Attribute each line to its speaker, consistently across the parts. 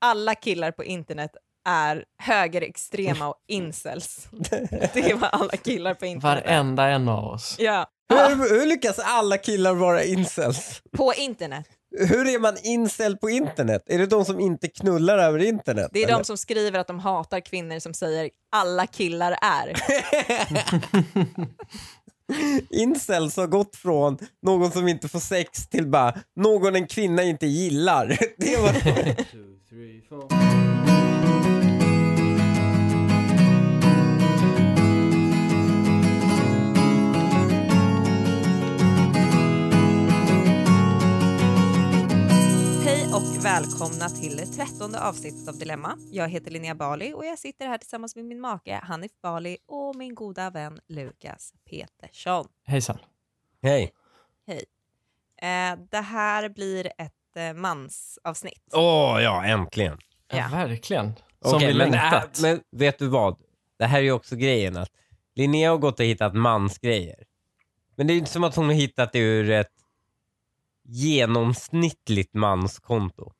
Speaker 1: alla killar på internet är högerextrema och incels. Det var alla killar på internet.
Speaker 2: Varenda en av oss.
Speaker 1: Ja,
Speaker 3: Hur, hur lyckas alla killar vara incels?
Speaker 1: på internet.
Speaker 3: Hur är man incel på internet? Är det de som inte knullar över internet?
Speaker 1: Det är
Speaker 3: eller?
Speaker 1: de som skriver att de hatar kvinnor som säger alla killar är.
Speaker 3: Incels har gått från någon som inte får sex till bara någon en kvinna inte gillar. Det var
Speaker 1: Hej och välkomna till det trettonde avsnittet av Dilemma. Jag heter Linnea Bali och jag sitter här tillsammans med min make Hanif Bali och min goda vän Lukas Petersson.
Speaker 2: Hejsan.
Speaker 3: Hej.
Speaker 1: Eh, det här blir ett eh, mansavsnitt.
Speaker 3: Åh, ja, äntligen.
Speaker 2: Ja.
Speaker 1: Ja.
Speaker 2: verkligen. Som
Speaker 3: Okej,
Speaker 2: vi
Speaker 3: men,
Speaker 2: längtat.
Speaker 3: äh, men vet du vad? Det här är ju också grejen att Linnea har gått och hittat mansgrejer. Men det är ju inte som att hon har hittat det ur ett genomsnittligt manskonto.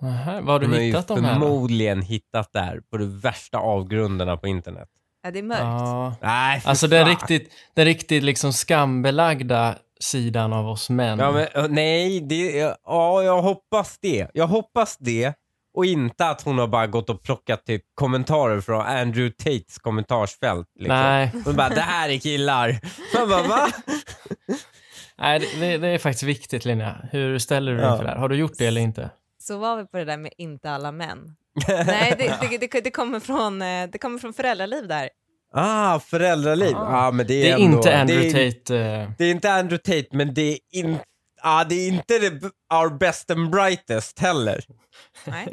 Speaker 2: Nähä, vad har
Speaker 3: hon
Speaker 2: du hittat
Speaker 3: har
Speaker 2: de
Speaker 3: ju
Speaker 2: här? då?
Speaker 3: förmodligen hittat det här på de värsta avgrunderna på internet.
Speaker 1: Ja, det är mörkt.
Speaker 2: Ja.
Speaker 3: Nej, för
Speaker 2: Alltså den
Speaker 3: fan.
Speaker 2: riktigt, den riktigt liksom skambelagda sidan av oss män.
Speaker 3: Ja, men, ö, nej, det, ja, jag hoppas det. Jag hoppas det. Och inte att hon har bara gått och plockat typ kommentarer från Andrew Tates kommentarsfält. Liksom.
Speaker 2: Nej,
Speaker 3: Hon bara, det här är killar. Man bara, va?
Speaker 2: nej det- det, det är faktiskt viktigt Linnea. Hur ställer du dig
Speaker 3: Ja.
Speaker 2: inför det här? Har du gjort det eller inte?
Speaker 1: Så var vi på det där med inte alla män. Nej, det, det, det, det, kommer, från, eh, det kommer från föräldraliv där.
Speaker 3: Ah, föräldraliv.
Speaker 2: Ah.
Speaker 3: Ah, men det är,
Speaker 2: Det är
Speaker 3: ändå,
Speaker 2: inte Andrew
Speaker 3: det är,
Speaker 2: Tate. eh,
Speaker 3: Det är inte Andrew Tate, men det är, in, ah, det är inte det, b- our best and brightest heller.
Speaker 1: Nej.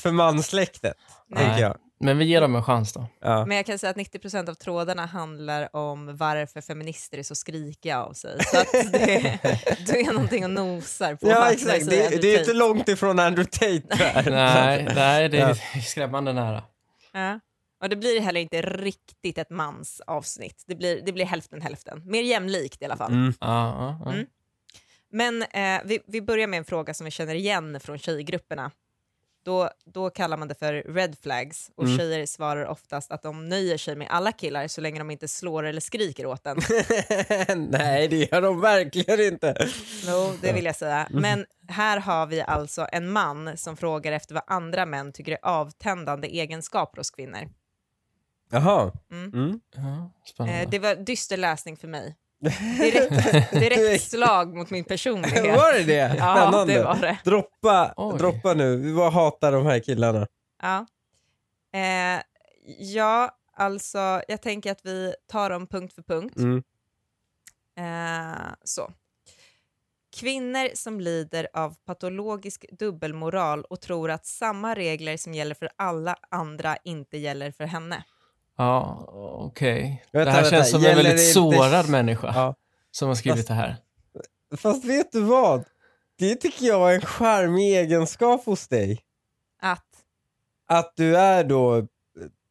Speaker 3: För manssläktet,
Speaker 1: Nej.
Speaker 3: tänker jag.
Speaker 2: Men vi ger dem en chans då.
Speaker 3: Ja.
Speaker 1: Men jag kan säga att 90 av trådarna handlar om varför feminister är så skrikiga av sig. Så att det, du är någonting och nosar på.
Speaker 3: Ja,
Speaker 1: varför
Speaker 3: exakt.
Speaker 1: säger
Speaker 3: Det,
Speaker 1: Andrew
Speaker 3: det är typ- ju
Speaker 1: Tate.
Speaker 3: inte långt ifrån Andrew Tate där.
Speaker 2: Nej, nej det
Speaker 3: Ja.
Speaker 2: är skrämmande nära.
Speaker 1: Ja. Och det blir heller inte riktigt ett mansavsnitt. Det blir, det blir hälften hälften. Mer jämlikt i alla fall.
Speaker 3: Mm.
Speaker 2: Ja, ja, ja.
Speaker 1: Mm. Men eh, vi, vi börjar med en fråga som vi känner igen från tjejgrupperna. Då, då kallar man det för red flags och
Speaker 3: Mm.
Speaker 1: tjejer svarar oftast att de nöjer sig med alla killar så länge de inte slår eller skriker åt en.
Speaker 3: Nej, det gör de verkligen inte.
Speaker 1: Jo, det vill jag säga.
Speaker 3: Mm.
Speaker 1: Men här har vi alltså en man som frågar efter vad andra män tycker är avtändande egenskaper hos kvinnor.
Speaker 3: Jaha.
Speaker 1: Mm.
Speaker 3: Mm.
Speaker 2: Ja,
Speaker 1: Eh,
Speaker 2: spännande.
Speaker 1: det var dyster läsning för mig. Direkt, direkt slag mot min personlighet.
Speaker 3: Var det det?
Speaker 1: Ja,
Speaker 3: Spännande.
Speaker 1: det var det.
Speaker 3: Droppa,
Speaker 2: Oj.
Speaker 3: droppa nu. Vi bara hatar de här killarna.
Speaker 1: Ja. Eh, ja, alltså jag tänker att vi tar dem punkt för punkt.
Speaker 3: Mm.
Speaker 1: Eh, så. Kvinnor som lider av patologisk dubbelmoral och tror att samma regler som gäller för alla andra inte gäller för henne.
Speaker 2: Ja, okej. Det
Speaker 3: Vänta,
Speaker 2: här
Speaker 3: vänta.
Speaker 2: känns som en
Speaker 3: Gäller
Speaker 2: väldigt
Speaker 3: det inte-
Speaker 2: sårad
Speaker 1: Ah.
Speaker 2: människa
Speaker 3: Ja.
Speaker 2: som har skrivit det här.
Speaker 3: Fast vet du vad? Det tycker jag är en charmig egenskap hos dig.
Speaker 1: Att,
Speaker 3: Att du är då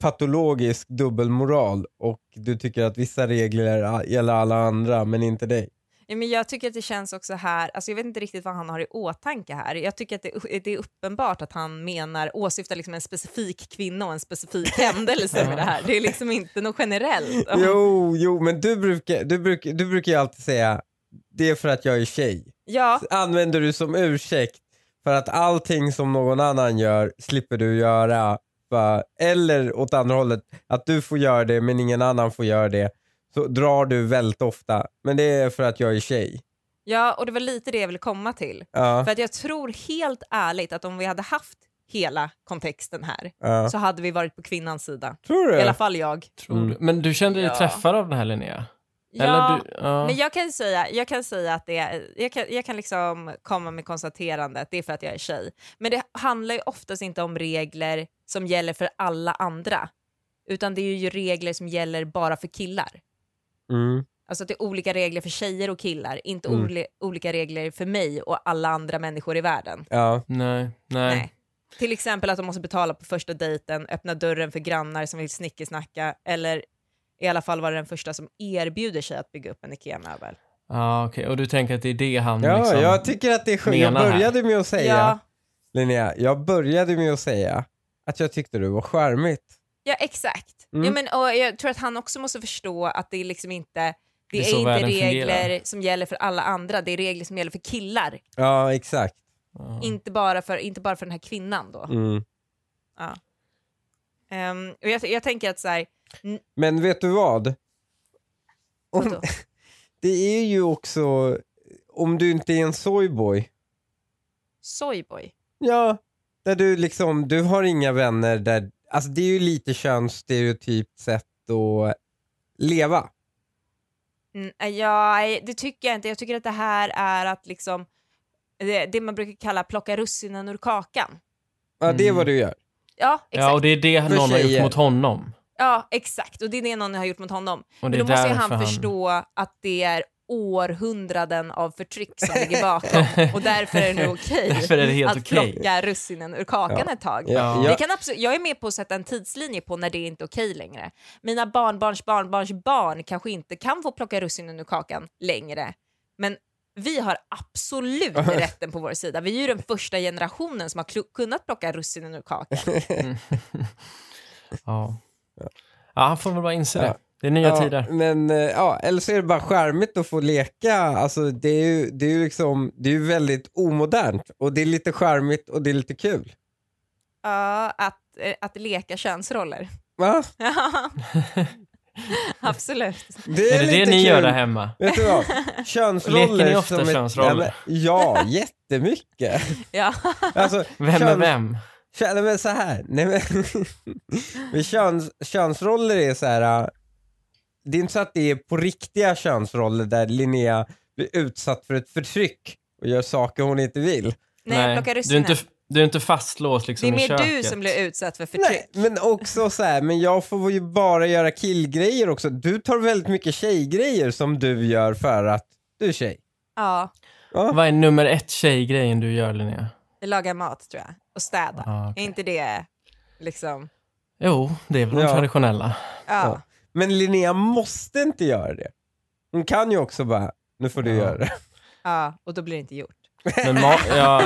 Speaker 3: patologisk dubbelmoral och du tycker att vissa regler gäller alla andra men inte dig.
Speaker 1: ja, men jag tycker att det känns också här, alltså jag vet inte riktigt vad han har i åtanke här. Jag tycker att det, det är uppenbart att han menar, åsyftar liksom en specifik kvinna och en specifik händelse med det här. Det är liksom inte något generellt.
Speaker 3: Jo, jo, men du brukar, du brukar, du brukar ju alltid säga det är för att jag är tjej.
Speaker 1: Ja,
Speaker 3: använder du som ursäkt för att allting som någon annan gör slipper du göra. Va? Eller åt andra hållet, att du får göra det men ingen annan får göra det. Så drar du väldigt ofta. Men det är för att jag är tjej.
Speaker 1: ja, och det var lite det jag ville komma till.
Speaker 3: Ja,
Speaker 1: För att jag tror helt ärligt att om vi hade haft hela kontexten här
Speaker 3: ja.
Speaker 1: så hade vi varit på kvinnans sida.
Speaker 3: Tror
Speaker 1: I alla
Speaker 3: du?
Speaker 1: fall jag.
Speaker 2: Tror
Speaker 3: Mm.
Speaker 2: du? Men du kände dig
Speaker 1: Ja.
Speaker 2: träffad av den här Linnea?
Speaker 1: ja,
Speaker 2: Eller du, ja.
Speaker 1: men jag kan säga, jag kan säga att det är, jag kan, jag kan liksom komma med konstaterandet, det är för att jag är tjej. Men det handlar ju oftast inte om regler som gäller för alla andra, utan det är ju regler som gäller bara för killar.
Speaker 3: Mm.
Speaker 1: Alltså att det är olika regler för tjejer och killar, inte
Speaker 3: Mm.
Speaker 1: oli- olika regler för mig och alla andra människor i världen.
Speaker 3: Ja.
Speaker 2: Nej, nej.
Speaker 1: Nej. Till exempel att de måste betala på första dejten, öppna dörren för grannar som vill snickesnacka eller i alla fall vara den första som erbjuder sig att bygga upp en IKEA-möbel.
Speaker 2: Ja, okej. Och du tänker att det är det han
Speaker 3: ja,
Speaker 2: liksom...
Speaker 3: jag tycker att det är skönt. Jag
Speaker 2: menar här.
Speaker 3: började med att säga Linnea, jag började med att säga att jag tyckte du var charmigt.
Speaker 1: Ja, exakt.
Speaker 3: Mm.
Speaker 1: Ja, men, och jag tror att han också måste förstå att det är liksom inte det,
Speaker 2: Det är
Speaker 1: är
Speaker 2: så
Speaker 1: inte
Speaker 2: världen
Speaker 1: regler
Speaker 2: fungerar.
Speaker 1: som gäller för alla andra, det är regler som gäller för killar.
Speaker 3: Ja, exakt.
Speaker 2: Ja.
Speaker 1: Inte, bara för, inte bara för den här kvinnan då.
Speaker 3: Mm.
Speaker 1: Ehm, och jag, jag tänker att så här,
Speaker 3: Men vet du vad? Om,
Speaker 1: vadå?
Speaker 3: det är ju också, om du inte är en soyboy,
Speaker 1: soyboy.
Speaker 3: ja, där du liksom, du har inga vänner där, alltså det är ju lite könsstereotypt sätt att leva.
Speaker 1: Mm, ja, nej, det tycker jag inte. Jag tycker att det här är att liksom det, det man brukar kalla plocka russinen ur kakan.
Speaker 3: Ja, det är
Speaker 2: Mm.
Speaker 3: vad du gör.
Speaker 1: Ja, exakt.
Speaker 2: ja, och det är det
Speaker 3: För
Speaker 2: någon har gjort
Speaker 3: tjejer.
Speaker 2: mot honom.
Speaker 1: Ja, exakt. Och det är det någon har gjort mot honom.
Speaker 2: Och det
Speaker 1: Men
Speaker 2: är
Speaker 1: då måste ju
Speaker 2: därför
Speaker 1: han förstå att det är århundraden av förtryck som ligger bakom och därför är det nog okej
Speaker 2: Därför är det helt
Speaker 1: att
Speaker 2: okej.
Speaker 1: plocka russinen ur kakan ett tag.
Speaker 3: Ja,
Speaker 2: Ja.
Speaker 1: Vi
Speaker 3: jag,
Speaker 1: kan absolut, jag är med på att sätta en tidslinje på när det är inte är okej längre. Mina barnbarns barnbarns barn kanske inte kan få plocka russinen ur kakan längre, men vi har absolut rätten på vår sida. Vi är ju den första generationen som har klu- kunnat plocka russinen ur kakan.
Speaker 2: Ja. ja, han får väl bara inse
Speaker 3: Ja.
Speaker 2: det. Det är nya
Speaker 3: ja,
Speaker 2: tider.
Speaker 3: Men eh, ja, eller så är det bara charmigt att få leka. Alltså det är ju, det är ju liksom, det är ju väldigt omodernt och det är lite charmigt och det är lite kul.
Speaker 1: Ja, att, eh, att leka könsroller.
Speaker 3: Va?
Speaker 1: Ja, absolut.
Speaker 3: Det
Speaker 2: Är det det
Speaker 3: lite
Speaker 2: ni
Speaker 3: kul.
Speaker 2: gör där hemma?
Speaker 3: Vet du vad? Könsroller.
Speaker 2: Leker ni ofta
Speaker 3: som ett-
Speaker 2: könsroller?
Speaker 3: Ja, men, ja, jättemycket.
Speaker 1: Ja.
Speaker 3: Alltså,
Speaker 2: Vem är
Speaker 3: köns-
Speaker 2: vem?
Speaker 3: Kön, nej, men så här. Nej, men, men köns, könsroller är så här. äh, Det är inte så att det är på riktiga könsroller där Linnea blir utsatt för ett förtryck och gör saker hon inte vill.
Speaker 1: Nej, plocka
Speaker 2: du, är
Speaker 1: russinen.
Speaker 2: inte, du är inte fastlåst liksom
Speaker 1: Det är
Speaker 2: i
Speaker 1: mer
Speaker 2: köket.
Speaker 1: du som blir utsatt för förtryck.
Speaker 3: Nej, men också så här, men jag får ju bara göra killgrejer också. Du tar väldigt mycket tjejgrejer som du gör för att du är tjej.
Speaker 1: Ja,
Speaker 3: Ja.
Speaker 2: Vad är nummer ett tjejgrejen du gör, Linnea?
Speaker 1: laga mat tror jag. Och städa.
Speaker 2: Ja, okej.
Speaker 1: Är inte det liksom...
Speaker 2: Jo, det är väl de
Speaker 3: Ja.
Speaker 2: traditionella.
Speaker 1: Ja.
Speaker 3: Men Linnea måste inte göra det. Hon kan ju också bara, nu får du
Speaker 2: Ja.
Speaker 3: göra det.
Speaker 1: ja, och då blir det inte gjort.
Speaker 2: Men ma- ja.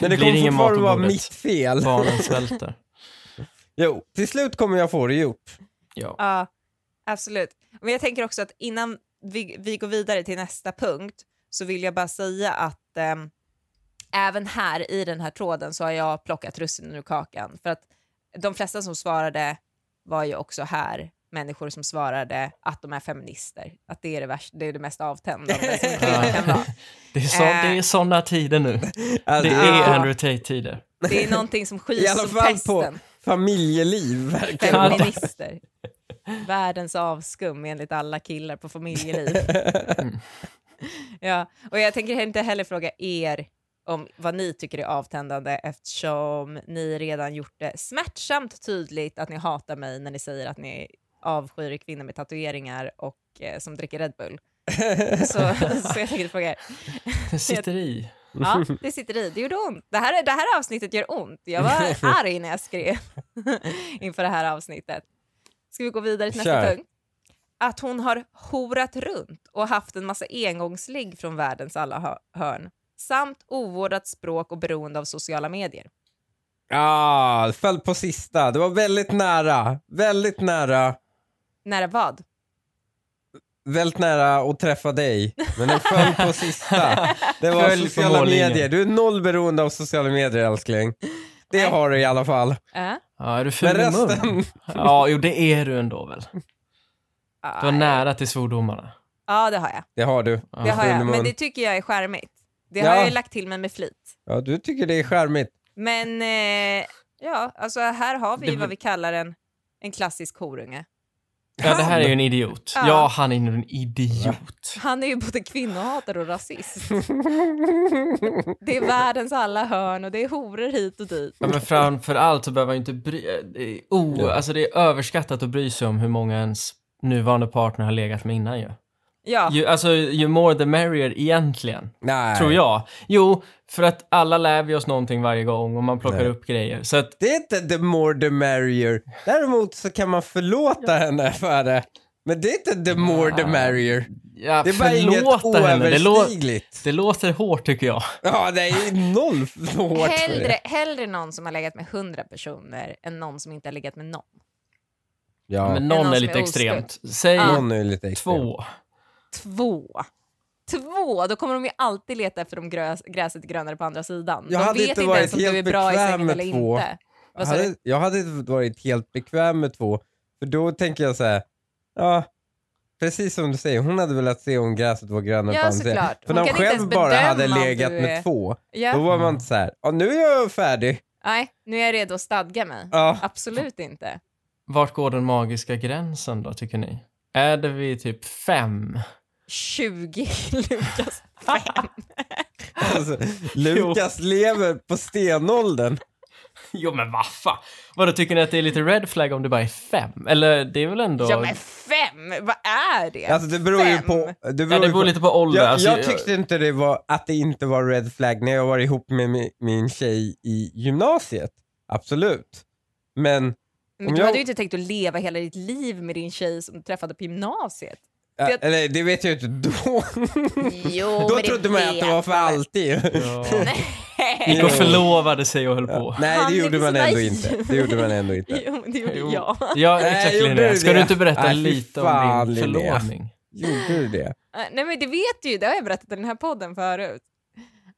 Speaker 3: Men det kommer fortfarande vara mitt fel.
Speaker 2: Barnen svälter.
Speaker 3: Jo, till slut kommer jag få det gjort.
Speaker 2: Ja.
Speaker 1: Ja, absolut. Men jag tänker också att innan vi, vi går vidare till nästa punkt så vill jag bara säga att ehm, även här i den här tråden så har jag plockat russinen ur kakan. För att de flesta som svarade var ju också här människor som svarade att de är feminister. Att det är det, värsta, det, är det mest avtändande som en kvinna kan vara.
Speaker 2: Det är, så, det är sådana tider nu.
Speaker 3: Alltså,
Speaker 2: Det
Speaker 3: det är
Speaker 2: är
Speaker 1: Ja.
Speaker 2: Andrew Tate-tider.
Speaker 1: Det är någonting som
Speaker 3: I
Speaker 1: skys
Speaker 3: alla
Speaker 1: som
Speaker 3: fall på-
Speaker 1: pesten.
Speaker 3: familjeliv verkligen.
Speaker 2: Ja.
Speaker 1: Feminister. Världens avskum enligt alla killar på familjeliv. Ja, och jag tänker inte heller fråga er om vad ni tycker är avtändande eftersom ni redan gjort det smärtsamt tydligt att ni hatar mig när ni säger att ni avskyr kvinnor med tatueringar och eh, som dricker Red Bull. Så, så jag tänker fråga er.
Speaker 2: Det sitter i.
Speaker 1: Ja, det sitter i. Det gjorde ont. Det här, det här avsnittet gör ont. Jag var arg när jag skrev inför det här avsnittet. Ska vi gå vidare till nästa
Speaker 3: Kör.
Speaker 1: punkt? Att hon har horat runt och haft en massa engångsligg från världens alla hö- hörn samt ovårdat språk och beroende av sociala medier.
Speaker 3: Ja, det föll på sista. Det var väldigt nära. Väldigt nära.
Speaker 1: Nära vad?
Speaker 3: Väldigt nära att träffa dig. Men den föll på sista. Det var
Speaker 2: Föll på
Speaker 3: sociala
Speaker 2: mållinjen.
Speaker 3: medier. Du är noll beroende av sociala medier älskling. Det
Speaker 1: Nej.
Speaker 3: har du i alla fall.
Speaker 1: Äh?
Speaker 2: Ja, är du ful
Speaker 3: Men
Speaker 2: i
Speaker 3: resten.
Speaker 2: mun? Ja, jo, det är du ändå väl? Du var
Speaker 1: Ja,
Speaker 2: nära till svordomarna.
Speaker 1: ja, det har jag.
Speaker 3: Det har du.
Speaker 2: Ja.
Speaker 1: Det har
Speaker 3: Full
Speaker 1: jag.
Speaker 3: mun.
Speaker 1: Men det tycker jag är charmigt. Det har
Speaker 3: Ja.
Speaker 1: jag ju lagt till mig med flit.
Speaker 3: Ja, du tycker det är charmigt.
Speaker 1: Men eh, ja, alltså här har vi ju
Speaker 2: Det-
Speaker 1: vad vi kallar en, en klassisk horunge.
Speaker 2: Ja, det här är ju en idiot.
Speaker 1: Ja.
Speaker 2: Ja, han är ju en idiot.
Speaker 1: Han är ju både kvinnohatare och rasist. Det är världens alla hörn och det är horor hit och dit.
Speaker 2: Ja, men framför allt så behöver man ju inte bry eh, det är, o-
Speaker 3: Ja.
Speaker 2: alltså det är överskattat att bry sig om hur många ens nuvarande partner har legat med innan ju.
Speaker 1: Ja,
Speaker 2: ju alltså, ju more the merrier egentligen,
Speaker 3: Nej.
Speaker 2: tror jag. Jo, för att alla lär vi oss någonting varje gång och man plockar
Speaker 3: Nej.
Speaker 2: upp grejer. Så att,
Speaker 3: Det är inte the more the merrier. Däremot så kan man förlåta henne för det. Men det är inte the more the
Speaker 2: Ja.
Speaker 3: merrier.
Speaker 2: Ja,
Speaker 3: Det är bara inget
Speaker 2: förlåta henne. Det, lå
Speaker 3: oöverstigligt.
Speaker 2: det låter hårt tycker jag.
Speaker 3: Ja, det är noll f- hårt för det.
Speaker 1: Hellre, hellre någon som har legat med 100 personer än någon som inte har legat med någon.
Speaker 3: Ja,
Speaker 2: Men
Speaker 1: Det är någon
Speaker 2: någon är
Speaker 1: som
Speaker 2: lite
Speaker 1: är oskuld.
Speaker 2: extremt. Säg
Speaker 1: Ja.
Speaker 3: någon är ju lite extrem.
Speaker 2: två.
Speaker 1: Två. Två! Då kommer de ju alltid leta efter de grös, gräset grönare på andra sidan.
Speaker 3: Jag
Speaker 1: de
Speaker 3: hade
Speaker 1: vet
Speaker 3: inte
Speaker 1: inte,
Speaker 3: varit
Speaker 1: ens om du är
Speaker 3: helt
Speaker 1: bra i
Speaker 3: bekväm
Speaker 1: sängen
Speaker 3: med
Speaker 1: eller
Speaker 3: två.
Speaker 1: inte.
Speaker 3: Jag
Speaker 1: Vad sa du?
Speaker 3: hade, jag hade inte varit helt bekväm med två. För då tänker jag så här, ja, precis som du säger, hon hade velat se om gräset var grönare
Speaker 1: Ja,
Speaker 3: på andra sidan.
Speaker 1: såklart.
Speaker 3: För
Speaker 1: Hon
Speaker 3: när hon
Speaker 1: kan inte
Speaker 3: själv
Speaker 1: ens
Speaker 3: bara hade
Speaker 1: bedöma om
Speaker 3: legat
Speaker 1: du
Speaker 3: med
Speaker 1: är-
Speaker 3: två,
Speaker 1: Ja.
Speaker 3: då var man inte så här, ja nu är jag färdig.
Speaker 1: Nej, nu är jag redo att stadga mig.
Speaker 3: Ja.
Speaker 1: Absolut inte.
Speaker 2: Vart går den magiska gränsen då, tycker ni? Är det vid typ fem?
Speaker 1: 20 Lukas.
Speaker 3: Alltså, Lukas lever på stenåldern.
Speaker 2: Jo men vaffa! Vadå, tycker ni att det är lite red flag om det bara är fem? Eller det är väl ändå...
Speaker 1: Ja men fem, vad är det?
Speaker 3: Alltså det beror ju
Speaker 1: Fem.
Speaker 3: på... Det beror,
Speaker 2: Ja, det beror
Speaker 3: ju på
Speaker 2: lite på ålder.
Speaker 3: jag,
Speaker 2: alltså,
Speaker 3: jag tyckte inte det var, att det inte var red flag när jag var ihop med min, min tjej i gymnasiet. Absolut. Men
Speaker 1: men
Speaker 3: om
Speaker 1: du
Speaker 3: jag-
Speaker 1: hade ju inte tänkt att leva hela ditt liv med din tjej som du träffade på gymnasiet.
Speaker 3: Ja,
Speaker 1: Det-
Speaker 3: Eller det vet jag inte då.
Speaker 1: Jo,
Speaker 3: då trodde man att det var för alltid.
Speaker 2: Ja.
Speaker 1: Nej.
Speaker 2: Gick och förlovade sig och höll på.
Speaker 3: Nej,
Speaker 1: Han
Speaker 3: det gjorde
Speaker 1: ligger
Speaker 3: man
Speaker 1: så
Speaker 3: ändå
Speaker 1: nice.
Speaker 3: inte. Det gjorde man ändå inte.
Speaker 1: Jo, men det gjorde
Speaker 2: Jo.
Speaker 1: jag.
Speaker 2: Ja,
Speaker 3: Nej,
Speaker 2: exakt
Speaker 3: gjorde
Speaker 2: Linnea.
Speaker 3: du
Speaker 2: Ska
Speaker 3: det?
Speaker 2: du inte berätta
Speaker 3: Nej, fy
Speaker 2: lite om
Speaker 3: fan,
Speaker 2: din
Speaker 3: Linnea.
Speaker 2: förlovning?
Speaker 3: Gjorde du det?
Speaker 1: Eh, Nej men det vet du ju, det har jag berättat i den här podden förut.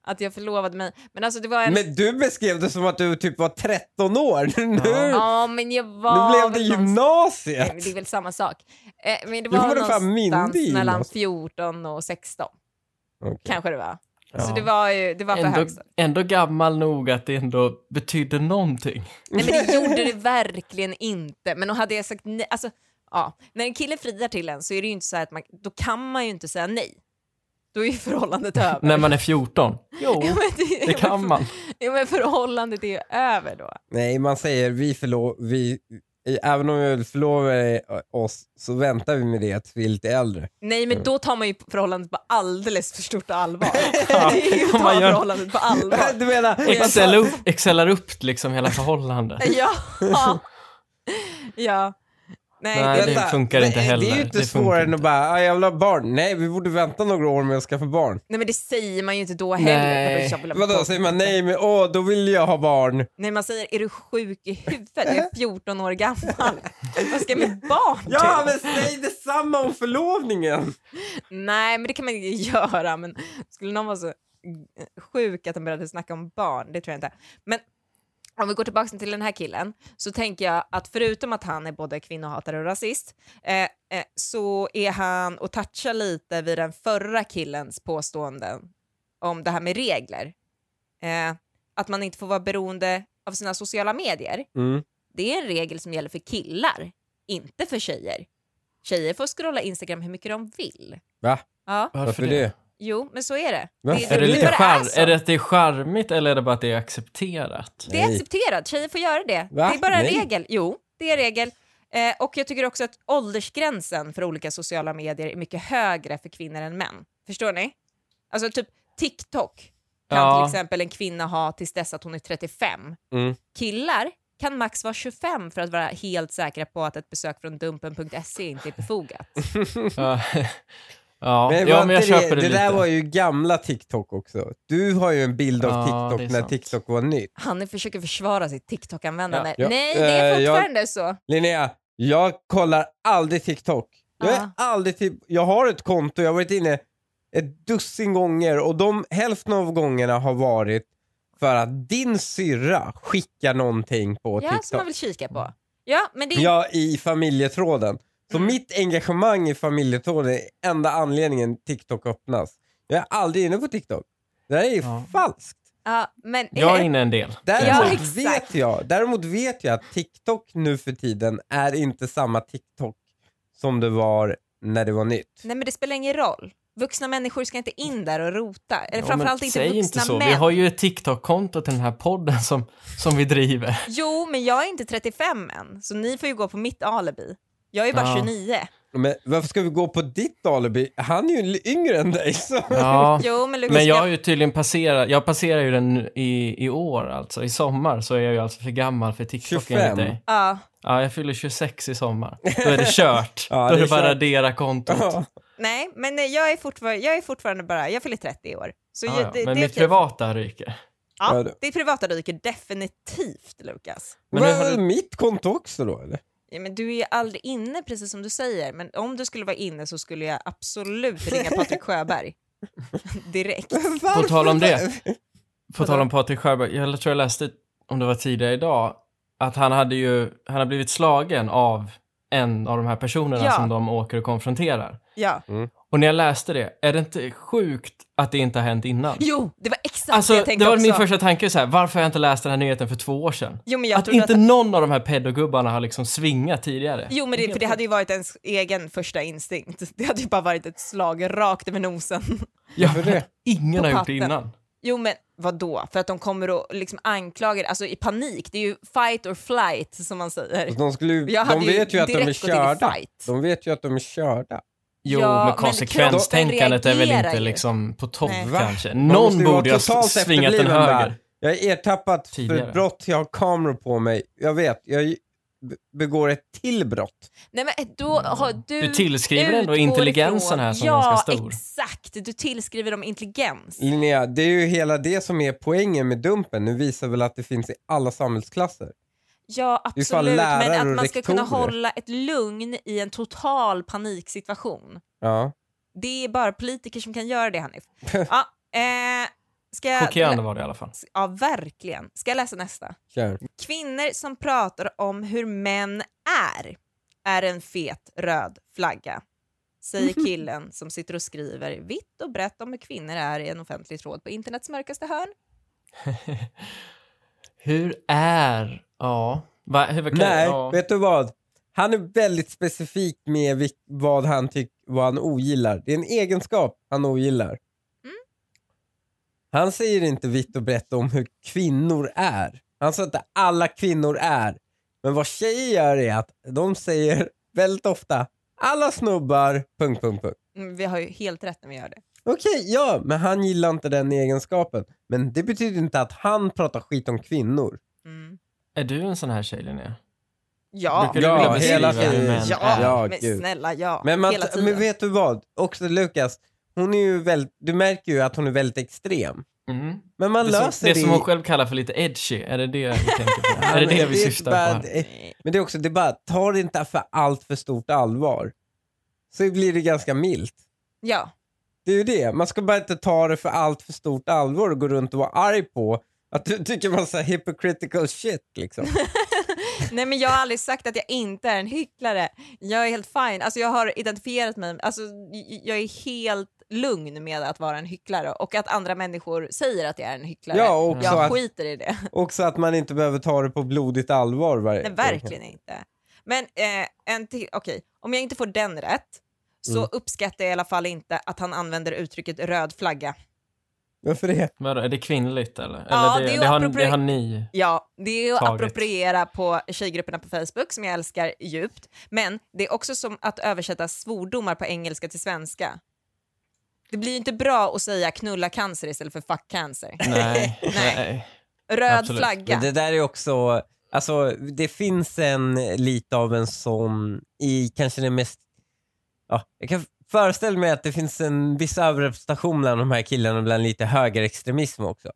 Speaker 1: Att jag förlovade mig. Men alltså det var en...
Speaker 3: Men du beskrev det som att du typ var 13 år. Nu,
Speaker 1: Ja men jag var...
Speaker 3: nu blev det
Speaker 1: väl någonstans- Nej, men
Speaker 3: gymnasiet.
Speaker 1: det är väl samma sak. Eh, men det
Speaker 3: Jo,
Speaker 1: var
Speaker 3: men du är fan
Speaker 1: någonstans
Speaker 3: myndig,
Speaker 1: mellan
Speaker 3: Jonas.
Speaker 1: 14 och 16
Speaker 3: Okej.
Speaker 1: kanske det var.
Speaker 2: Ja.
Speaker 1: Så det var ju, det var för
Speaker 2: Ändå,
Speaker 1: högstadiet.
Speaker 2: ändå gammal nog att det ändå betydde någonting.
Speaker 1: Nej men det gjorde det verkligen inte. Men då hade jag sagt nej, alltså ja, när en kille friar till en så är det ju inte så här att man, då kan man ju inte säga nej. Då är ju förhållandet över.
Speaker 2: När man är 14. Jo,
Speaker 1: Ja, men
Speaker 2: det kan man.
Speaker 1: Ja, men förhållandet är ju över då.
Speaker 3: Nej, man säger vi förlov... Vi, även om vi vill förlova oss så väntar vi med det tills vi är lite äldre.
Speaker 1: Nej, men då tar man ju förhållandet på alldeles för stort allvar. Det är ju att
Speaker 2: om
Speaker 1: ta
Speaker 2: man gör-
Speaker 1: förhållandet på allvar.
Speaker 3: Du menar...
Speaker 2: Excel upp, excelar upp liksom hela förhållandet.
Speaker 1: Ja. ja. Nej,
Speaker 2: Nej,
Speaker 1: det,
Speaker 2: det funkar inte
Speaker 3: Det är
Speaker 2: heller.
Speaker 3: ju inte
Speaker 2: Det funkar
Speaker 3: svårare än
Speaker 2: inte.
Speaker 3: att bara, "Ah, jag vill ha barn. Nej, vi borde vänta några år med att skaffa barn.
Speaker 1: nej, men det säger man ju inte då heller.
Speaker 2: Nej.
Speaker 1: Jag vill ha
Speaker 3: Vadå,
Speaker 1: barn.
Speaker 3: säger man nej men åh, då vill jag ha barn.
Speaker 1: Nej, man säger är du sjuk i huvudet? Jag är 14 år gammal. Vad ska jag med barn
Speaker 3: Eh. Ja,
Speaker 1: till?
Speaker 3: men säg detsamma om förlovningen!
Speaker 1: Nej, men det kan man ju göra. Men skulle någon vara så sjuk att de började snacka om barn, det tror jag inte. Men om vi går tillbaka till den här killen så tänker jag att förutom att han är både kvinnohatare och rasist eh, eh, så är han och touchar lite vid den förra killens påståenden om det här med regler. Eh, att man inte får vara beroende av sina sociala medier.
Speaker 3: Mm.
Speaker 1: Det är en regel som gäller för killar, inte för tjejer. Tjejer får scrolla Instagram hur mycket de vill.
Speaker 3: Va?
Speaker 1: Ja,
Speaker 3: Varför det?
Speaker 1: jo, men så är det.
Speaker 3: Varför
Speaker 2: Är det,
Speaker 3: Det
Speaker 2: lite
Speaker 1: bara alltså.
Speaker 2: char-
Speaker 1: så.
Speaker 2: är det att det är charmigt eller är det bara att det är accepterat?
Speaker 1: Det är
Speaker 3: Nej.
Speaker 1: accepterat, tjejer får göra det.
Speaker 3: Va?
Speaker 1: Det är bara en
Speaker 3: Nej.
Speaker 1: regel. Jo, det är en regel. Eh, och jag tycker också att åldersgränsen för olika sociala medier är mycket högre för kvinnor än män. Förstår ni? Alltså typ TikTok kan
Speaker 2: Ja.
Speaker 1: till exempel en kvinna ha tills dess att hon är 35.
Speaker 3: Mm.
Speaker 1: Killar kan max vara 25 för att vara helt säkra på att ett besök från dumpen.se inte är befogat.
Speaker 2: Ja, ja.
Speaker 3: Men var
Speaker 2: ja men jag
Speaker 3: inte
Speaker 2: köper det,
Speaker 3: det
Speaker 2: lite.
Speaker 3: där var ju gamla TikTok också. Du har ju en bild av
Speaker 2: Ja, det är
Speaker 3: TikTok när
Speaker 2: sant.
Speaker 3: TikTok var nytt.
Speaker 1: Han försöker försvara sitt TikTok-användande.
Speaker 3: Ja. Ja.
Speaker 1: Nej, det är
Speaker 3: Eh, jag-
Speaker 1: fortfarande så.
Speaker 3: Linnea, jag kollar aldrig TikTok. Jag, är
Speaker 1: Ja.
Speaker 3: aldrig typ, jag har ett konto, jag har varit inne ett dussin gånger och de hälften av gångerna har varit för att din syrra skickar någonting på
Speaker 1: Ja, som man
Speaker 3: TikTok.
Speaker 1: vill kika på. Ja, men det är
Speaker 3: Ja, i familjetråden. Så
Speaker 1: Mm.
Speaker 3: mitt engagemang i familjetråden är enda anledningen TikTok öppnas. Jag är aldrig inne på TikTok. Det här är ju
Speaker 2: Ja.
Speaker 3: falskt.
Speaker 1: Ja, men, eh,
Speaker 2: Jag är inne en del.
Speaker 1: Ja,
Speaker 3: Däremot,
Speaker 1: exakt.
Speaker 3: vet jag, däremot vet jag att TikTok nu för tiden är inte samma TikTok som det var när det var nytt.
Speaker 1: Nej, men det spelar ingen roll. Vuxna människor ska inte in där och rota. Eller
Speaker 2: Ja,
Speaker 1: framförallt
Speaker 2: men
Speaker 1: inte
Speaker 2: säg
Speaker 1: vuxna
Speaker 2: inte så.
Speaker 1: män.
Speaker 2: Vi har ju ett TikTok-konto till den här podden som, som vi driver.
Speaker 1: Jo, men jag är inte 35 än, så ni får ju gå på mitt alibi. Jag är bara
Speaker 2: Ja.
Speaker 1: 29.
Speaker 3: Men varför ska vi gå på ditt alibi? Han är ju yngre än dig. Så.
Speaker 2: Ja.
Speaker 1: Jo, men Lukas,
Speaker 2: Ah. Men jag har ju tydligen passerat, jag passerar ju den nu i, i år alltså, i sommar så är jag ju alltså för gammal för TikTok
Speaker 3: 25.
Speaker 2: enligt dig.
Speaker 1: Ja,
Speaker 2: Ja, jag fyller 26 i sommar. Då är det kört.
Speaker 3: Ja,
Speaker 2: Då är
Speaker 3: det
Speaker 2: det,
Speaker 3: är
Speaker 2: bara
Speaker 3: kört.
Speaker 2: radera kontot.
Speaker 3: Ja.
Speaker 1: Nej, men nej, jag är fortfarande, jag är fortfarande bara, jag fyller 30 i år. Så
Speaker 2: Ja,
Speaker 1: ju-
Speaker 2: Ah, ja.
Speaker 1: det,
Speaker 2: Men
Speaker 1: det är
Speaker 2: mitt
Speaker 1: okej.
Speaker 2: privata ryker.
Speaker 1: Ja, ditt privata ryker definitivt, Lukas.
Speaker 2: Men
Speaker 3: Men
Speaker 2: nu har du-
Speaker 3: mitt konto också då eller?
Speaker 1: Ja, men du är ju aldrig inne, precis som du säger. Men om du skulle vara inne så skulle jag absolut ringa Patrik Sjöberg. Direkt.
Speaker 3: Varför?
Speaker 2: På tal om det. På
Speaker 1: Vadå?
Speaker 2: tal om Patrik Sjöberg, jag tror jag läste, om det var tidigare idag, att han hade ju, han har blivit slagen av en av de här personerna
Speaker 1: Ja.
Speaker 2: som de åker och konfronterar.
Speaker 1: Ja.
Speaker 2: Och när jag läste det, är det inte sjukt att det inte har hänt innan?
Speaker 1: Jo, det var exakt
Speaker 2: Alltså,
Speaker 1: det jag tänkte
Speaker 2: det var
Speaker 1: också.
Speaker 2: min första tanke så här, varför har jag inte läst den här nyheten för två år sedan?
Speaker 1: Jo, men jag
Speaker 2: att
Speaker 1: trodde
Speaker 2: inte
Speaker 1: att...
Speaker 2: någon av de här pedogubbarna har liksom svingat tidigare.
Speaker 1: Jo, men det, för det hade ju varit ens egen första instinkt. Det hade ju bara varit ett slag rakt över nosen.
Speaker 2: Ja,
Speaker 3: Varför det?
Speaker 2: Ingen
Speaker 1: På
Speaker 2: har gjort det
Speaker 1: patten.
Speaker 2: innan.
Speaker 1: Jo, men vad då? För att de kommer och liksom anklagar, alltså i panik. Det är ju fight or flight som man säger.
Speaker 3: Alltså, De, skulle, ju-
Speaker 1: Jag hade
Speaker 3: de vet ju att de är
Speaker 1: direkt gått in i
Speaker 3: körda.
Speaker 1: fight.
Speaker 3: De vet ju att de är körda.
Speaker 2: Jo,
Speaker 1: Ja, men
Speaker 2: men
Speaker 1: kroppen
Speaker 2: konsekvenstänkandet är väl
Speaker 1: reagerar
Speaker 2: inte
Speaker 1: ju.
Speaker 2: liksom på topp
Speaker 1: Nej.
Speaker 3: Va?
Speaker 2: kanske.
Speaker 3: Man måste
Speaker 2: Någon
Speaker 3: ju vara
Speaker 2: borde ju ha
Speaker 3: totalt
Speaker 2: s- svingat en
Speaker 3: efterbliven där.
Speaker 2: höger.
Speaker 3: Jag är ertappad för
Speaker 2: Tidigare.
Speaker 3: ett brott, jag har kameror på mig. Jag vet, jag be- begår ett till brott.
Speaker 1: Nej, men eh, då har du...
Speaker 2: Du tillskriver ändå
Speaker 1: utgår
Speaker 2: intelligensen
Speaker 1: ifrån-
Speaker 2: här som
Speaker 1: ja,
Speaker 2: ganska stor.
Speaker 1: exakt. Du tillskriver dem intelligens.
Speaker 3: Linnea, det är ju hela det som är poängen med Dumpen. Nu visar väl att det finns i alla samhällsklasser.
Speaker 1: Ja,
Speaker 3: är ju
Speaker 1: absolut.
Speaker 3: fan
Speaker 1: Men
Speaker 3: lärare
Speaker 1: att
Speaker 3: och
Speaker 1: man ska kunna
Speaker 3: rektorer.
Speaker 1: hålla ett lugn i en total paniksituation.
Speaker 3: Ja.
Speaker 1: Det är bara politiker som kan göra det, Hanif. Ja, eh, ska jag...
Speaker 2: Chockerande var det i alla fall.
Speaker 1: Ja, verkligen. Ska jag läsa nästa?
Speaker 3: Kör.
Speaker 1: Kvinnor som pratar om hur män är, är en fet röd flagga. Säger killen som sitter och skriver vitt och brett om hur kvinnor är i en offentlig tråd på internets mörkaste hörn.
Speaker 2: Hur är... Ja. Va, hur, vad kan,
Speaker 3: Nej,
Speaker 2: ja.
Speaker 3: vet du vad? Han är väldigt specifik med vil- vad han tycker, vad han ogillar. Det är en egenskap han ogillar. Han säger inte vitt och brett om hur kvinnor är. Han sa inte alla kvinnor är. Men vad tjejer gör är att de säger väldigt ofta alla snubbar... Punkt, punkt, punkt.
Speaker 1: Mm, Vi har ju helt rätt när vi gör det.
Speaker 3: Okej, ja, men han gillar inte den egenskapen. Men det betyder inte att han pratar skit om kvinnor.
Speaker 1: Mm.
Speaker 2: Är du en sån här tjej, Linnea?
Speaker 1: Ja,
Speaker 2: Brukar du vilja
Speaker 3: Ja,
Speaker 2: beskriva
Speaker 3: hela
Speaker 2: hur
Speaker 3: tiden.
Speaker 2: män
Speaker 1: ja,
Speaker 2: är?
Speaker 3: Ja,
Speaker 1: men
Speaker 3: gud.
Speaker 1: snälla ja,
Speaker 3: Men, man,
Speaker 1: hela tiden.
Speaker 3: men vet du vad? Också Lukas, hon är ju väldigt, du märker ju att hon är väldigt extrem.
Speaker 2: Mm.
Speaker 3: Men man
Speaker 2: Det, som,
Speaker 3: löser
Speaker 2: det
Speaker 3: det.
Speaker 2: som hon
Speaker 3: i-
Speaker 2: själv kallar för lite edgy, är det det vi tänker på?
Speaker 3: Ja,
Speaker 2: är det
Speaker 3: men
Speaker 2: det vi
Speaker 3: är
Speaker 2: syftar på?
Speaker 3: bara-
Speaker 2: här?
Speaker 3: det- Men det är också, det är bara, ta det inte för allt för stort allvar. Så blir det ganska milt.
Speaker 1: ja,
Speaker 3: Det är ju det, man ska bara inte ta det för allt för stort allvar och gå runt och vara arg på att du tycker massa hypocritical shit liksom.
Speaker 1: nej men jag har aldrig sagt att jag inte är en hycklare. Jag är helt fine. Alltså jag har identifierat mig, alltså j- jag är helt lugn med att vara en hycklare och att andra människor säger att jag är en hycklare.
Speaker 3: Ja, och också,
Speaker 1: jag
Speaker 3: att,
Speaker 1: skiter i det.
Speaker 3: också att man inte behöver ta det på blodigt allvar. varje-
Speaker 1: Nej, verkligen inte. Men eh, en till, okej, om jag inte får den rätt så
Speaker 3: Mm.
Speaker 1: uppskattar jag i alla fall inte att han använder uttrycket röd flagga.
Speaker 3: Varför det?
Speaker 2: Vadå, är det kvinnligt eller?
Speaker 1: Ja,
Speaker 2: eller
Speaker 1: det är
Speaker 2: det,
Speaker 1: ju
Speaker 2: det, har,
Speaker 1: apropri-
Speaker 2: det har ni.
Speaker 1: Ja, det är att
Speaker 2: Taget.
Speaker 1: appropriera på tjejgrupperna på Facebook som jag älskar djupt. Men det är också som att översätta svordomar på engelska till svenska. Det blir ju inte bra att säga knulla cancer istället för fuck cancer.
Speaker 2: Nej.
Speaker 1: Nej.
Speaker 2: nej.
Speaker 1: Röd
Speaker 2: Absolut.
Speaker 1: flagga.
Speaker 3: Men det där är också, alltså det finns en lite av en sån i kanske den mest, ja, jag kan föreställa mig att det finns en viss överrepresentation bland de här killarna bland lite högerextremism också.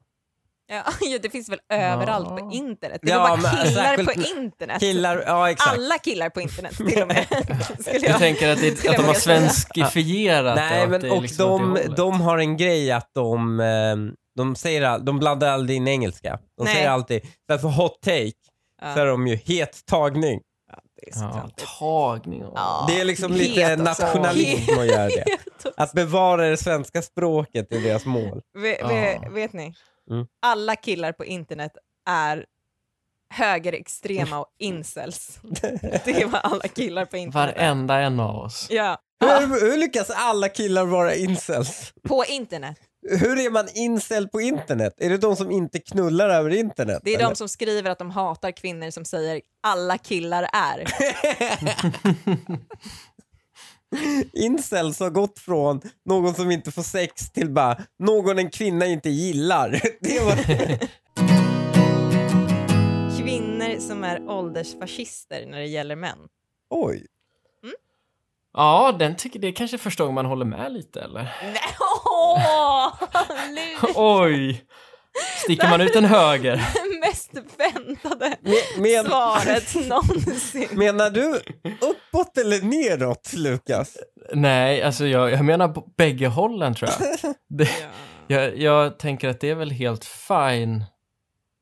Speaker 1: Ja, ja, det finns väl överallt på internet. Det är
Speaker 3: Ja,
Speaker 1: väl bara
Speaker 3: men
Speaker 1: killar
Speaker 3: särskilt-
Speaker 1: på internet.
Speaker 3: Killar, ja exakt.
Speaker 1: Alltså, Alla killar på internet till och med. Skulle
Speaker 2: Jag
Speaker 1: jag-
Speaker 2: tänker att, det,
Speaker 1: skulle
Speaker 2: att
Speaker 1: jag
Speaker 2: de har
Speaker 1: våga säga.
Speaker 2: svenskifierat
Speaker 3: Nej
Speaker 2: och att det
Speaker 3: men
Speaker 2: är
Speaker 3: och
Speaker 2: liksom åt det
Speaker 3: de,
Speaker 2: hållet.
Speaker 3: de har en grej att de, eh, de säger, all- de blandar aldrig in engelska. De
Speaker 1: Nej.
Speaker 3: säger alltid, därför hot take,
Speaker 1: Ja.
Speaker 3: så är de ju het tagning.
Speaker 1: Ja, det är så
Speaker 2: Ja,
Speaker 1: klantigt.
Speaker 2: tagning och...
Speaker 1: Ja. alltså.
Speaker 3: Det är liksom
Speaker 1: het
Speaker 3: lite
Speaker 1: också.
Speaker 3: nationalism att göra det.
Speaker 1: Helt
Speaker 3: Att bevara det svenska språket är deras mål.
Speaker 1: Ve-
Speaker 2: Ja.
Speaker 1: ve- Vet ni?
Speaker 3: Mm.
Speaker 1: Alla killar på internet är högerextrema och incels. Det var alla killar på internet.
Speaker 2: Varenda en av oss.
Speaker 1: Ja,
Speaker 3: Hur, hur lyckas alla killar vara incels?
Speaker 1: på internet.
Speaker 3: Hur är man incel på internet? Är det de som inte knullar över internet?
Speaker 1: Det är
Speaker 3: eller?
Speaker 1: de som skriver att de hatar kvinnor som säger alla killar är.
Speaker 3: Incels har gått från någon som inte får sex till bara någon en kvinna inte gillar. Det var...
Speaker 1: Kvinnor som är åldersfascister när det gäller män.
Speaker 3: Oj.
Speaker 2: Ja, den tycker, det är kanske första gången man håller med lite eller?
Speaker 1: Nej, åh! Lur.
Speaker 2: Oj! Sticker man ut en höger?
Speaker 1: Det mest väntade
Speaker 3: Me- men-
Speaker 1: svaret någonsin.
Speaker 3: Menar du uppåt eller neråt, Lukas?
Speaker 2: Nej, alltså jag, jag menar på bägge hållen tror jag. Det, jag. Jag tänker att det är väl helt fine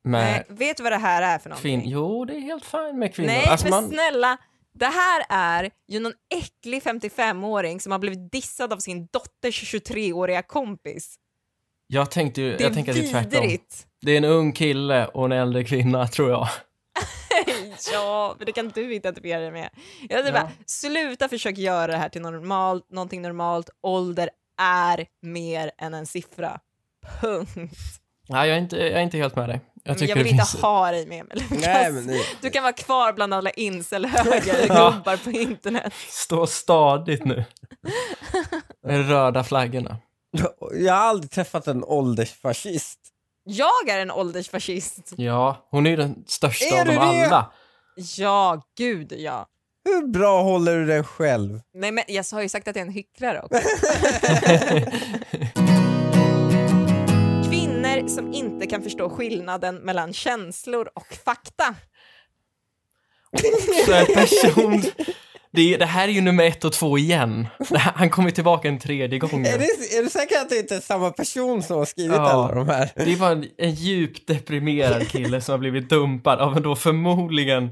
Speaker 1: Nej,
Speaker 2: med
Speaker 1: vet du vad det här är för någonting?
Speaker 2: kvinnor. Jo, det är helt fine med kvinnor.
Speaker 1: Nej,
Speaker 2: alltså
Speaker 1: men
Speaker 2: man,
Speaker 1: snälla. Det här är ju någon äcklig 55-åring som har blivit dissad av sin dotters 23-åriga kompis.
Speaker 2: jag tänkte ju,
Speaker 1: Det
Speaker 2: jag
Speaker 1: är
Speaker 2: tänker att det är tvärtom.
Speaker 1: vidrigt.
Speaker 2: Det är en ung kille och en äldre kvinna tror jag.
Speaker 1: ja, men det kan du identifiera dig med. Jag säger
Speaker 2: Ja.
Speaker 1: bara, sluta försöka göra det här till normalt, någonting normalt. Ålder är mer än en siffra. Punkt.
Speaker 2: Nej, jag är inte, jag är inte helt med dig.
Speaker 1: Jag,
Speaker 2: Jag
Speaker 1: jag
Speaker 2: tycker
Speaker 1: vill
Speaker 2: det
Speaker 1: inte
Speaker 2: finns...
Speaker 1: ha dig med mig, Lukas.
Speaker 3: Nej, men det,
Speaker 1: Du kan vara kvar bland alla incel-högergubbar på internet.
Speaker 2: Stå stadigt nu. Med röda flaggorna.
Speaker 3: jag har aldrig träffat en åldersfascist.
Speaker 1: Jag är en åldersfascist.
Speaker 2: Ja, hon är ju den största
Speaker 3: Är
Speaker 2: av
Speaker 3: du
Speaker 2: dem
Speaker 3: det?
Speaker 2: alla.
Speaker 1: Ja, gud ja.
Speaker 3: Hur bra håller du den själv?
Speaker 1: Nej, men jag har ju sagt att jag är en hycklare också. Kvinnor som inte kan förstå skillnaden mellan känslor och fakta.
Speaker 2: Så en person... Det, är, det här är ju nummer ett och två igen. Det här, han kommer tillbaka en tredje gång.
Speaker 3: Är, det, är du säker att det inte är samma person som har skrivit
Speaker 2: Ja.
Speaker 3: alla de här?
Speaker 2: Det var en, en djupt deprimerad kille som har blivit dumpad av en då förmodligen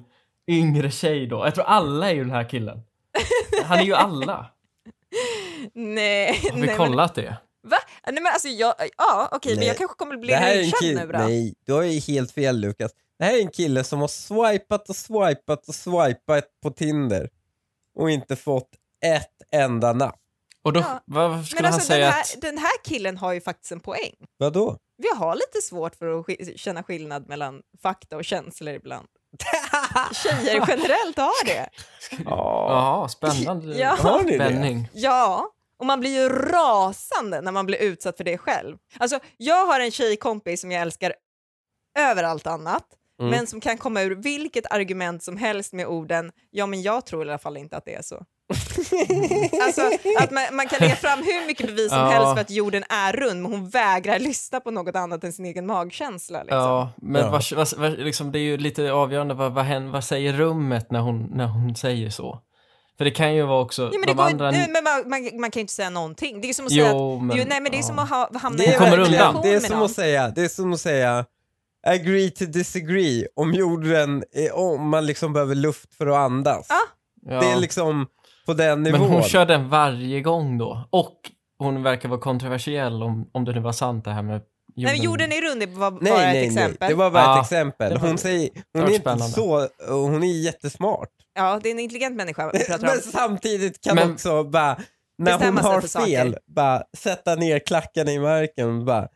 Speaker 2: yngre tjej då. Jag tror alla är ju den här killen. Han är ju alla.
Speaker 1: Nej,
Speaker 2: Har vi
Speaker 1: nej, men,
Speaker 2: kollat det?
Speaker 1: va? nej men alltså jag, ja okej, men
Speaker 3: Nej.
Speaker 1: jag kanske kommer bli
Speaker 3: Det här är en
Speaker 1: nedkänd
Speaker 3: kille...
Speaker 1: nu då.
Speaker 3: Nej, du har ju helt fel Lukas. Det här är en kille som har swipat och swipat och swipat på Tinder och inte fått ett enda napp.
Speaker 2: Och då,
Speaker 1: Ja.
Speaker 2: varför skulle
Speaker 1: Men alltså
Speaker 2: han säga
Speaker 1: den här,
Speaker 2: att...
Speaker 1: den här killen har ju faktiskt en poäng.
Speaker 3: Vadå?
Speaker 1: Vi har lite svårt för att sk- känna skillnad mellan fakta och känslor ibland. Tjejer generellt har det.
Speaker 3: Ja.
Speaker 2: Jaha, spännande.
Speaker 1: Ja. Liksom.
Speaker 3: Har ni det?
Speaker 2: Spänning.
Speaker 1: Ja, och man blir ju rasande när man blir utsatt för det själv. Alltså, jag har en tjejkompis som jag älskar över allt annat,
Speaker 3: Mm.
Speaker 1: men som kan komma ur vilket argument som helst med orden “ja, men jag tror i alla fall inte att det är så”. alltså, att man, man kan lägga fram hur mycket bevis som
Speaker 2: Ja.
Speaker 1: helst för att jorden är rund, men hon vägrar lyssna på något annat än sin egen magkänsla. Liksom.
Speaker 2: Ja, men
Speaker 3: Ja.
Speaker 2: Vad, vad, vad, liksom, det är ju lite avgörande vad, vad, hen, vad säger rummet när hon, när hon säger så. För det kan ju vara också
Speaker 1: Ja, men det
Speaker 2: de
Speaker 1: går, ju-
Speaker 2: andra...
Speaker 1: nej, men man, man, man kan ju inte säga någonting. Det är som att säga
Speaker 2: jo,
Speaker 1: att,
Speaker 2: men...
Speaker 1: det är ju- nej, men det är
Speaker 2: ja.
Speaker 1: som att ha, hamna
Speaker 3: Det
Speaker 1: i
Speaker 3: är,
Speaker 1: en
Speaker 2: kommer
Speaker 3: verkligen-
Speaker 2: undan.
Speaker 1: relation
Speaker 3: det är
Speaker 1: med
Speaker 3: som
Speaker 1: någon.
Speaker 3: att säga, det är som att säga agree to disagree om jorden, är- om man liksom behöver luft för att andas.
Speaker 1: Ja.
Speaker 2: Ja.
Speaker 3: Det är liksom på den nivån.
Speaker 2: Men hon kör den varje gång då. Och hon verkar vara kontroversiell om, om det nu var sant det här med jorden.
Speaker 1: Nej, men jorden är rund, det var bara
Speaker 3: Nej,
Speaker 1: ett
Speaker 3: nej,
Speaker 1: exempel.
Speaker 3: nej. Det var bara ett
Speaker 2: Ja.
Speaker 3: exempel.
Speaker 2: Det var-
Speaker 3: Hon, säger,
Speaker 2: det
Speaker 3: hon
Speaker 2: var
Speaker 3: är inte
Speaker 2: spännande.
Speaker 3: så, hon är jättesmart.
Speaker 1: Ja, det är en intelligent människa vi pratar om.
Speaker 3: Men samtidigt kan
Speaker 2: Men-
Speaker 3: också bara, när hon
Speaker 1: Bestämma sig
Speaker 3: har
Speaker 1: för saker.
Speaker 3: fel, bara sätta ner klacken i marken och bara,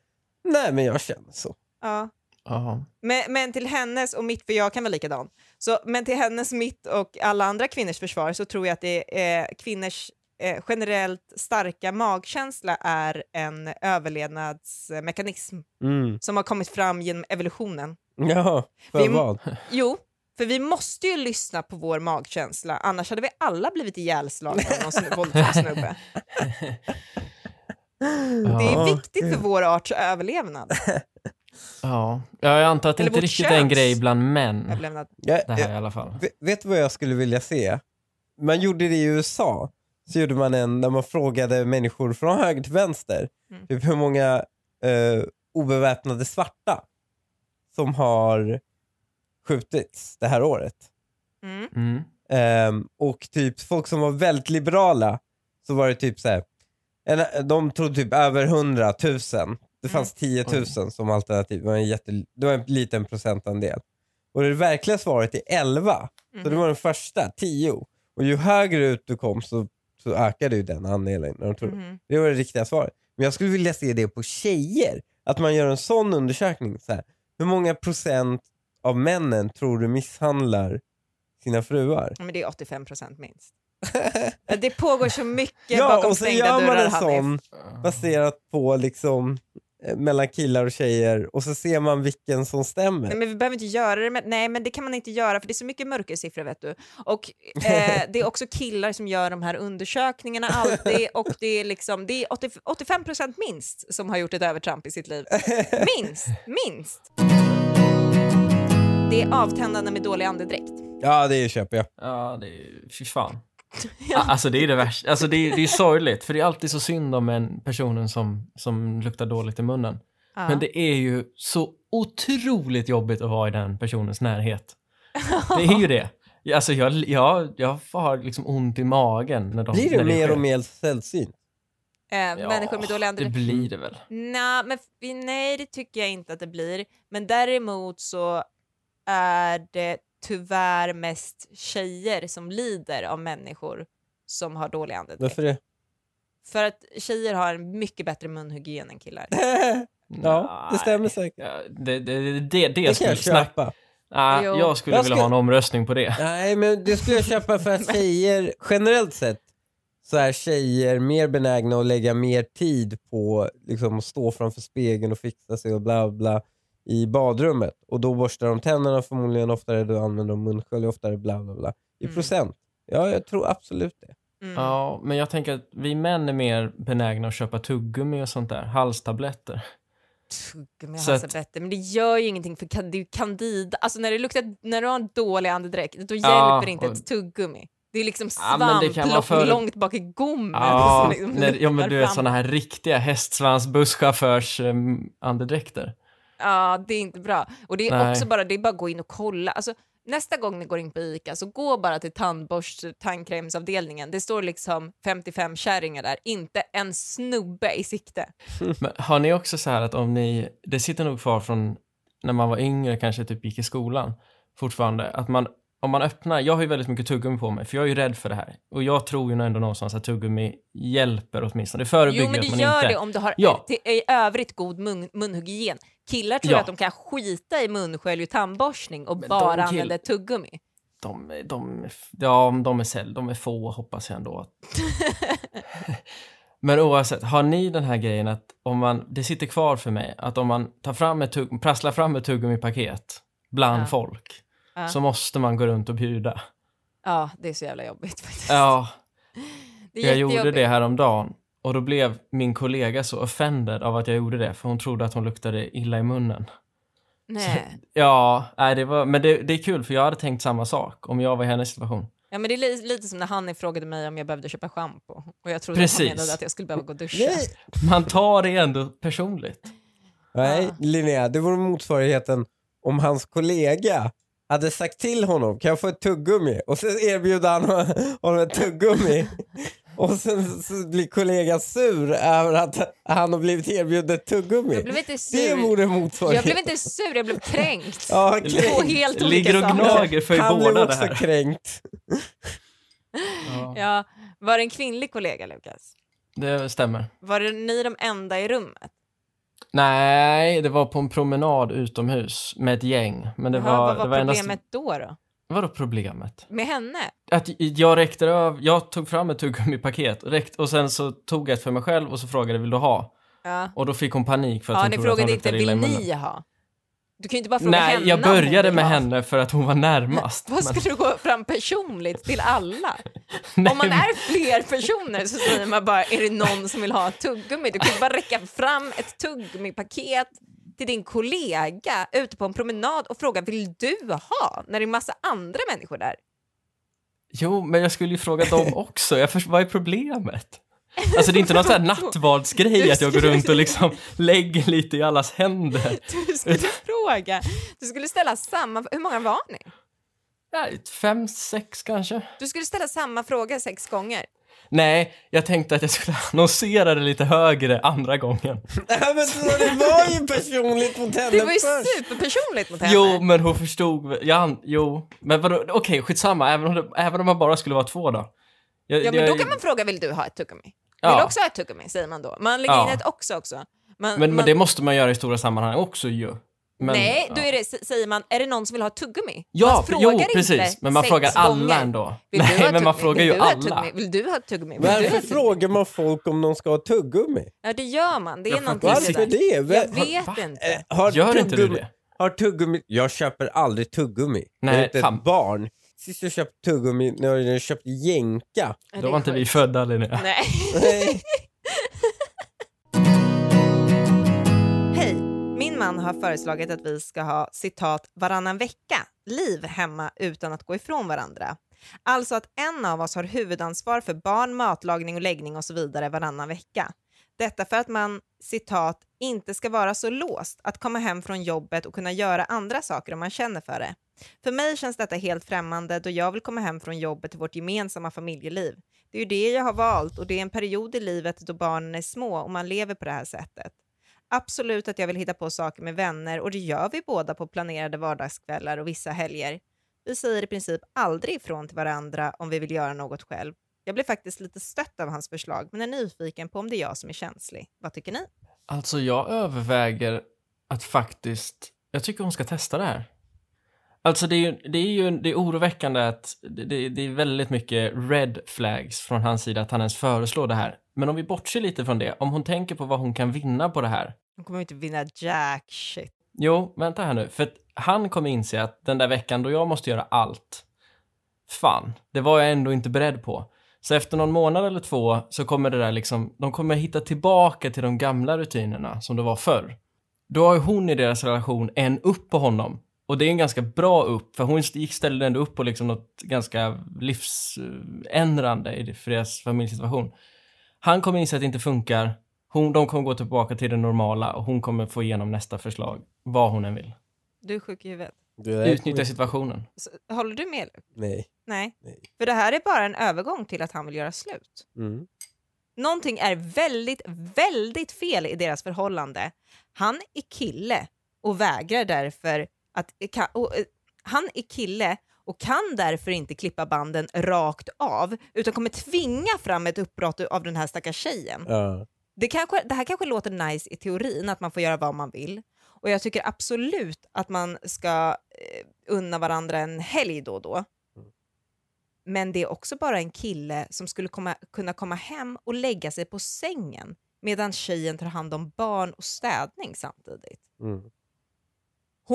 Speaker 3: nej men jag känner så.
Speaker 1: Ja.
Speaker 2: Ja.
Speaker 1: Men, men till hennes och mitt, för jag kan vara likadan, så, men till hennes, mitt och alla andra kvinnors försvar så tror jag att det är eh, kvinnors eh, generellt starka magkänsla är en överlevnadsmekanism
Speaker 3: Mm.
Speaker 1: som har kommit fram genom evolutionen.
Speaker 3: Ja, för
Speaker 1: Vi-
Speaker 3: vad?
Speaker 1: Jo, för vi måste ju lyssna på vår magkänsla, annars hade vi alla blivit ihjälslagna av någon snu- våldsam snubbe. Det
Speaker 2: Ja.
Speaker 1: är
Speaker 3: Ja,
Speaker 1: viktigt
Speaker 3: gud.
Speaker 1: för vår arts överlevnad.
Speaker 2: ja. ja, jag antar att det
Speaker 1: Eller
Speaker 2: inte
Speaker 1: vårt
Speaker 2: riktigt
Speaker 1: köns.
Speaker 2: är en grej bland män.
Speaker 1: överlevnad.
Speaker 3: Jag,
Speaker 2: Det här i alla fall.
Speaker 3: Ve- Vet du vad jag skulle vilja se? Man gjorde det i USA. Så gjorde man en när man frågade människor från höger till vänster
Speaker 1: Mm.
Speaker 3: typ hur många eh, obeväpnade svarta som har skjutits det här året.
Speaker 1: Mm.
Speaker 2: Mm.
Speaker 3: Ehm, och typ folk som var väldigt liberala så var det typ så här. En, de trodde typ över 100 000. Det fanns 10 000 som alternativ. Det var en, jätte, det var en liten procentandel. Och det verkliga svaret är 11.
Speaker 1: Mhm.
Speaker 3: Så det var den första, 10. Och ju högre ut du kom så, så ökade ju den andelen. när de trodde.
Speaker 1: Mhm.
Speaker 3: Det var det riktiga svaret. Men jag skulle vilja se det på tjejer. Att man gör en sån undersökning. Så här, hur många procent av männen tror du misshandlar sina fruar?
Speaker 1: Ja, Men det är 85 procent minst. Det pågår så mycket
Speaker 3: Ja,
Speaker 1: bakom
Speaker 3: och så
Speaker 1: stängda
Speaker 3: gör man
Speaker 1: dörrar,
Speaker 3: en
Speaker 1: Hanif.
Speaker 3: sån baserat på liksom eh, mellan killar och tjejer och så ser man vilken som
Speaker 1: Nej,
Speaker 3: stämmer.
Speaker 1: men vi behöver inte göra det. Men, nej, men det kan man inte göra för det är så mycket mörkersiffror vet du. Och eh, det är också killar som gör de här undersökningarna alltid och det är liksom det är 80, 85 procent minst som har gjort ett övertramp i sitt liv. Minst, minst. Det är avtändande med dålig andedräkt.
Speaker 3: Ja, det köper jag.
Speaker 2: Ja, det är, fy fan. Ja, Alltså det är det värsta. Alltså det är, det är sorgligt, för det är alltid så synd om en personen som, som luktar dåligt i munnen.
Speaker 1: Ja.
Speaker 2: Men det är ju så otroligt jobbigt att vara i den personens närhet. Det är ju det. Alltså jag, jag, jag har liksom ont i magen när de...
Speaker 3: Blir det
Speaker 2: när
Speaker 3: mer
Speaker 2: sker.
Speaker 3: och mer sällsynt?
Speaker 1: eh, människor med dålig andedräkt.
Speaker 2: Det blir det väl.
Speaker 1: Nej, men f- nej, det tycker jag inte att det blir. Men däremot så är det tyvärr mest tjejer som lider av människor som har dålig andedräkt.
Speaker 3: Varför det?
Speaker 1: För att tjejer har en mycket bättre munhygien än killar.
Speaker 3: ja, det stämmer säkert.
Speaker 2: Ja, Det, det, det, det,
Speaker 3: Det kan
Speaker 2: skulle
Speaker 3: jag
Speaker 2: snack...
Speaker 3: köpa.
Speaker 2: Nej,
Speaker 1: Jo. Mm.
Speaker 2: jag skulle
Speaker 3: Jag
Speaker 2: vilja
Speaker 3: skulle-
Speaker 2: ha en omröstning på det.
Speaker 3: Nej, men det skulle jag köpa för att tjejer generellt sett så är tjejer mer benägna att lägga mer tid på liksom, att stå framför spegeln och fixa sig och bla bla i badrummet. Och då borstar de tänderna förmodligen oftare, då använder de munskölj oftare, bla bla bla. I
Speaker 1: Mm.
Speaker 3: procent. Ja, jag tror absolut det.
Speaker 1: Mm.
Speaker 2: Ja, men jag tänker att vi män är mer benägna att köpa tuggummi och sånt där. Halstabletter.
Speaker 1: Mm. Tugg, men,
Speaker 2: Så
Speaker 1: jag har
Speaker 2: att-
Speaker 1: bättre. men det gör ju ingenting för kan- det är ju candida. Alltså när det luktar, när du har en dålig andedräkt, då hjälper
Speaker 2: Ja,
Speaker 1: inte
Speaker 2: och-
Speaker 1: ett tuggummi. Det är liksom
Speaker 2: Ja, men det
Speaker 1: svamp
Speaker 2: kan vara
Speaker 1: långt-
Speaker 2: för-
Speaker 1: långt bak i gommen.
Speaker 2: Ja,
Speaker 1: som liksom
Speaker 2: när, ja men
Speaker 1: luktar
Speaker 2: du vet
Speaker 1: fram.
Speaker 2: såna här riktiga eh, hästsvansbusschaufförs-andedräkter.
Speaker 1: Ja, det är inte bra. Och det är
Speaker 2: Nej.
Speaker 1: också bara, det är bara att gå in och kolla. Alltså, nästa gång ni går in på ICA så gå bara till tandborst tandkrämsavdelningen. Det står liksom 55 kärringar där, inte en snubbe i sikte.
Speaker 2: Men har ni också så här att om ni, det sitter nog kvar från när man var yngre, kanske typ gick i skolan fortfarande, att man, om man öppnar, jag har ju väldigt mycket tuggummi på mig för jag är ju rädd för det här och jag tror ju ändå någonstans att tuggummi hjälper åtminstone, det förebygger
Speaker 1: Jo, men det
Speaker 2: att man
Speaker 1: gör
Speaker 2: inte...
Speaker 1: det om du har
Speaker 2: Ja.
Speaker 1: till, i övrigt god mun, munhygien. Killar tror
Speaker 2: Ja.
Speaker 1: att de kan skita i munskölj och tandborstning och
Speaker 2: de
Speaker 1: bara
Speaker 2: kill-
Speaker 1: använder tuggummi.
Speaker 2: De, de, ja, om de är säll, de är få hoppas jag ändå. Men oavsett, har ni den här grejen att om man, det sitter kvar för mig, att om man tar fram ett tugg, prasslar fram ett tuggummi-paket bland
Speaker 1: Ja.
Speaker 2: folk
Speaker 1: Ja.
Speaker 2: så måste man gå runt och bjuda.
Speaker 1: Ja, det är så jävla jobbigt faktiskt.
Speaker 2: Ja,
Speaker 1: det
Speaker 2: jag gjorde
Speaker 1: jättejobbigt.
Speaker 2: det här om dagen och då blev min kollega så offended av att jag gjorde det för hon trodde att hon luktade illa i munnen.
Speaker 1: Nej.
Speaker 2: Ja, nej, det var, men det, det är kul för jag hade tänkt samma sak om jag var i hennes situation.
Speaker 1: Ja, men det är li- lite som när Hanni frågade mig om jag behövde köpa schampo och jag trodde att
Speaker 2: Precis.
Speaker 1: han menade att jag skulle behöva gå och duscha.
Speaker 3: Nej,
Speaker 2: Man tar det ändå personligt.
Speaker 3: Nej
Speaker 1: Ah.
Speaker 3: Linnea, det vore motsvarigheten om hans kollega hade sagt till honom, kan jag få ett tuggummi? Och sen erbjuder han honom ett tuggummi. Och sen så blir kollegan sur över att han har blivit erbjuden ett
Speaker 1: Jag
Speaker 3: tuggummi.
Speaker 1: blev inte
Speaker 3: Det
Speaker 1: sur.
Speaker 3: vore
Speaker 1: Jag
Speaker 3: motsvarigheten.
Speaker 1: blev inte sur, jag blev kränkt.
Speaker 3: Ja,
Speaker 1: Två
Speaker 3: kränkt.
Speaker 1: helt olika
Speaker 2: Ligger och
Speaker 1: saker.
Speaker 2: gnager för
Speaker 3: Han blev
Speaker 2: båda det
Speaker 3: också
Speaker 2: här.
Speaker 3: kränkt.
Speaker 2: Ja,
Speaker 1: Ja, var det en kvinnlig kollega, Lukas?
Speaker 2: det stämmer.
Speaker 1: Var det ni de enda i rummet?
Speaker 2: Nej, det var på en promenad utomhus med ett gäng. Men det
Speaker 1: Jaha,
Speaker 2: var,
Speaker 1: vad var
Speaker 2: det var
Speaker 1: problemet
Speaker 2: endast...
Speaker 1: då, då?
Speaker 2: Vadå problemet?
Speaker 1: Med henne?
Speaker 2: Att jag räckte över, jag tog fram ett tuggummi-paket räckt- och sen så tog jag ett för mig själv och så frågade vill du ha?
Speaker 1: Ja,
Speaker 2: Och då fick hon panik för att
Speaker 1: ja
Speaker 2: hon
Speaker 1: ni
Speaker 2: trodde att
Speaker 1: frågade
Speaker 2: hon
Speaker 1: inte
Speaker 2: luktade illa i
Speaker 1: vill
Speaker 2: munnen.
Speaker 1: ni ha? Du kan ju inte bara fråga henne.
Speaker 2: Nej, jag
Speaker 1: om hon
Speaker 2: började
Speaker 1: vill
Speaker 2: med
Speaker 1: ha.
Speaker 2: henne för att hon var närmast.
Speaker 1: Vad ska
Speaker 2: men-
Speaker 1: du gå fram personligt till alla?
Speaker 2: Nej,
Speaker 1: Om man är fler personer så säger man bara, är det någon som vill ha ett tuggummi? Du kan ju bara räcka fram ett tuggummipaket till din kollega ute på en promenad och fråga, vill du ha? När det är massa andra människor där.
Speaker 2: Jo, men jag skulle ju fråga dem också. Jag först, vad är problemet? Alltså det är inte någon sån här nattvardsgrej
Speaker 1: Du
Speaker 2: att jag går
Speaker 1: skulle-
Speaker 2: runt och liksom lägger lite i allas händer.
Speaker 1: Du skulle fråga, du skulle ställa samma, hur många var ni?
Speaker 2: Nej, fem, sex kanske?
Speaker 1: Du skulle ställa samma fråga sex gånger.
Speaker 2: Nej, jag tänkte att jag skulle annonsera det lite högre andra gången.
Speaker 3: Nej, men så det var ju personligt mot henne
Speaker 1: Det var ju
Speaker 3: först.
Speaker 1: superpersonligt mot henne.
Speaker 2: Jo, men hon förstod väl- jag, an- Jo, men vadå? Okej, skitsamma. Även om, det, även om man bara skulle vara två då. Jag,
Speaker 1: Ja, men då
Speaker 2: jag-
Speaker 1: kan man fråga, vill du ha ett tuggummi? Vill
Speaker 2: Ja.
Speaker 1: du också ha ett tuggummi? Säger man då. Man lägger
Speaker 2: Ja.
Speaker 1: in ett också också. Man,
Speaker 2: men,
Speaker 1: man,
Speaker 2: men det måste man göra i stora sammanhang också ju. Men,
Speaker 1: Nej,
Speaker 2: ja.
Speaker 1: då är det, s- säger man, är det någon som vill ha ett tuggummi?
Speaker 2: Ja,
Speaker 1: man frågar
Speaker 2: jo,
Speaker 1: inte
Speaker 2: precis. Men man
Speaker 1: sex
Speaker 2: frågar alla
Speaker 1: gånger.
Speaker 2: ändå.
Speaker 1: Vill du ha
Speaker 2: Nej, men
Speaker 1: tuggummi?
Speaker 2: man frågar
Speaker 1: Vill
Speaker 2: ju
Speaker 1: du ha
Speaker 2: alla.
Speaker 1: tuggummi? Vill du ha ett tuggummi? Vill du ha
Speaker 3: Varför
Speaker 1: ett tuggummi?
Speaker 3: frågar man folk om de ska ha tuggummi?
Speaker 1: Ja, det gör man. Det är
Speaker 2: Jag
Speaker 1: någonting
Speaker 2: fattar
Speaker 1: med
Speaker 2: inte.
Speaker 3: Varför
Speaker 1: det. där.
Speaker 3: det?
Speaker 1: Jag
Speaker 3: Har-
Speaker 1: vet inte.
Speaker 3: eh, Har
Speaker 2: Gör inte du
Speaker 3: tuggummi-
Speaker 2: det?
Speaker 3: Har tuggummi... Jag köper aldrig tuggummi.
Speaker 2: Nej,
Speaker 3: jag är inte
Speaker 2: fan.
Speaker 3: ett barn. Sist jag köpte tuggummi, när jag köpte jänka.
Speaker 1: Ja, det
Speaker 2: Då
Speaker 1: är
Speaker 2: var inte vi
Speaker 1: sjukt.
Speaker 2: födda, Linnea.
Speaker 1: Nej.
Speaker 3: Nej.
Speaker 1: Hej! Min man har föreslagit att vi ska ha citat varannan vecka-liv hemma utan att gå ifrån varandra. Alltså att en av oss har huvudansvar för barn, matlagning och läggning och så vidare varannan vecka. Detta för att man citat inte ska vara så låst att komma hem från jobbet och kunna göra andra saker om man känner för det. För mig känns detta helt främmande då jag vill komma hem från jobbet till vårt gemensamma familjeliv. Det är ju det jag har valt och det är en period i livet då barnen är små och man lever på det här sättet. Absolut att jag vill hitta på saker med vänner och det gör vi båda på planerade vardagskvällar och vissa helger. Vi säger i princip aldrig ifrån till varandra om vi vill göra något själv. Jag blev faktiskt lite stött av hans förslag men är nyfiken på om det är jag som är känslig. Vad tycker ni?
Speaker 2: Alltså, jag överväger att faktiskt... Jag tycker hon ska testa det här. Alltså, det är ju, det är ju det är oroväckande att det, det, det är väldigt mycket red flags från hans sida att han ens föreslår det här. Men om vi bortser lite från det, om hon tänker på vad hon kan vinna på det här.
Speaker 1: De kommer ju inte vinna jack shit.
Speaker 2: Jo, vänta här nu. För att han kommer inse att den där veckan då jag måste göra allt, fan, det var jag ändå inte beredd på. Så efter någon månad eller två så kommer det där liksom, de kommer hitta tillbaka till de gamla rutinerna som det var förr. Då har ju hon i deras relation en upp på honom. Och det är en ganska bra upp, för hon gick- ställde ändå upp på liksom något ganska livsändrande i det- för deras familjesituation. Han kommer inse att det inte funkar. Hon, de kommer gå tillbaka till det normala och hon kommer få igenom nästa förslag, vad hon än vill.
Speaker 1: Du är sjuk i huvudet.
Speaker 3: Du är-
Speaker 2: Utnyttja situationen.
Speaker 1: Så, håller du med? Luke?
Speaker 3: Nej.
Speaker 1: Nej.
Speaker 3: Nej.
Speaker 1: För det här är bara en övergång till att han vill göra slut.
Speaker 3: Mm.
Speaker 1: Någonting är väldigt, väldigt fel i deras förhållande. Han är kille och vägrar därför att... kan- Och, eh, han är kille och kan därför inte klippa banden rakt av utan kommer tvinga fram ett uppbrott av den här stackars tjejen.
Speaker 3: Ja.
Speaker 1: Det, kanske, det här kanske låter nice i teorin, att man får göra vad man vill. Och jag tycker absolut att man ska eh, unna varandra en helg då och då. Men det är också bara en kille som skulle komma, kunna komma hem och lägga sig på sängen medan tjejen tar hand om barn och städning samtidigt.
Speaker 3: Mm.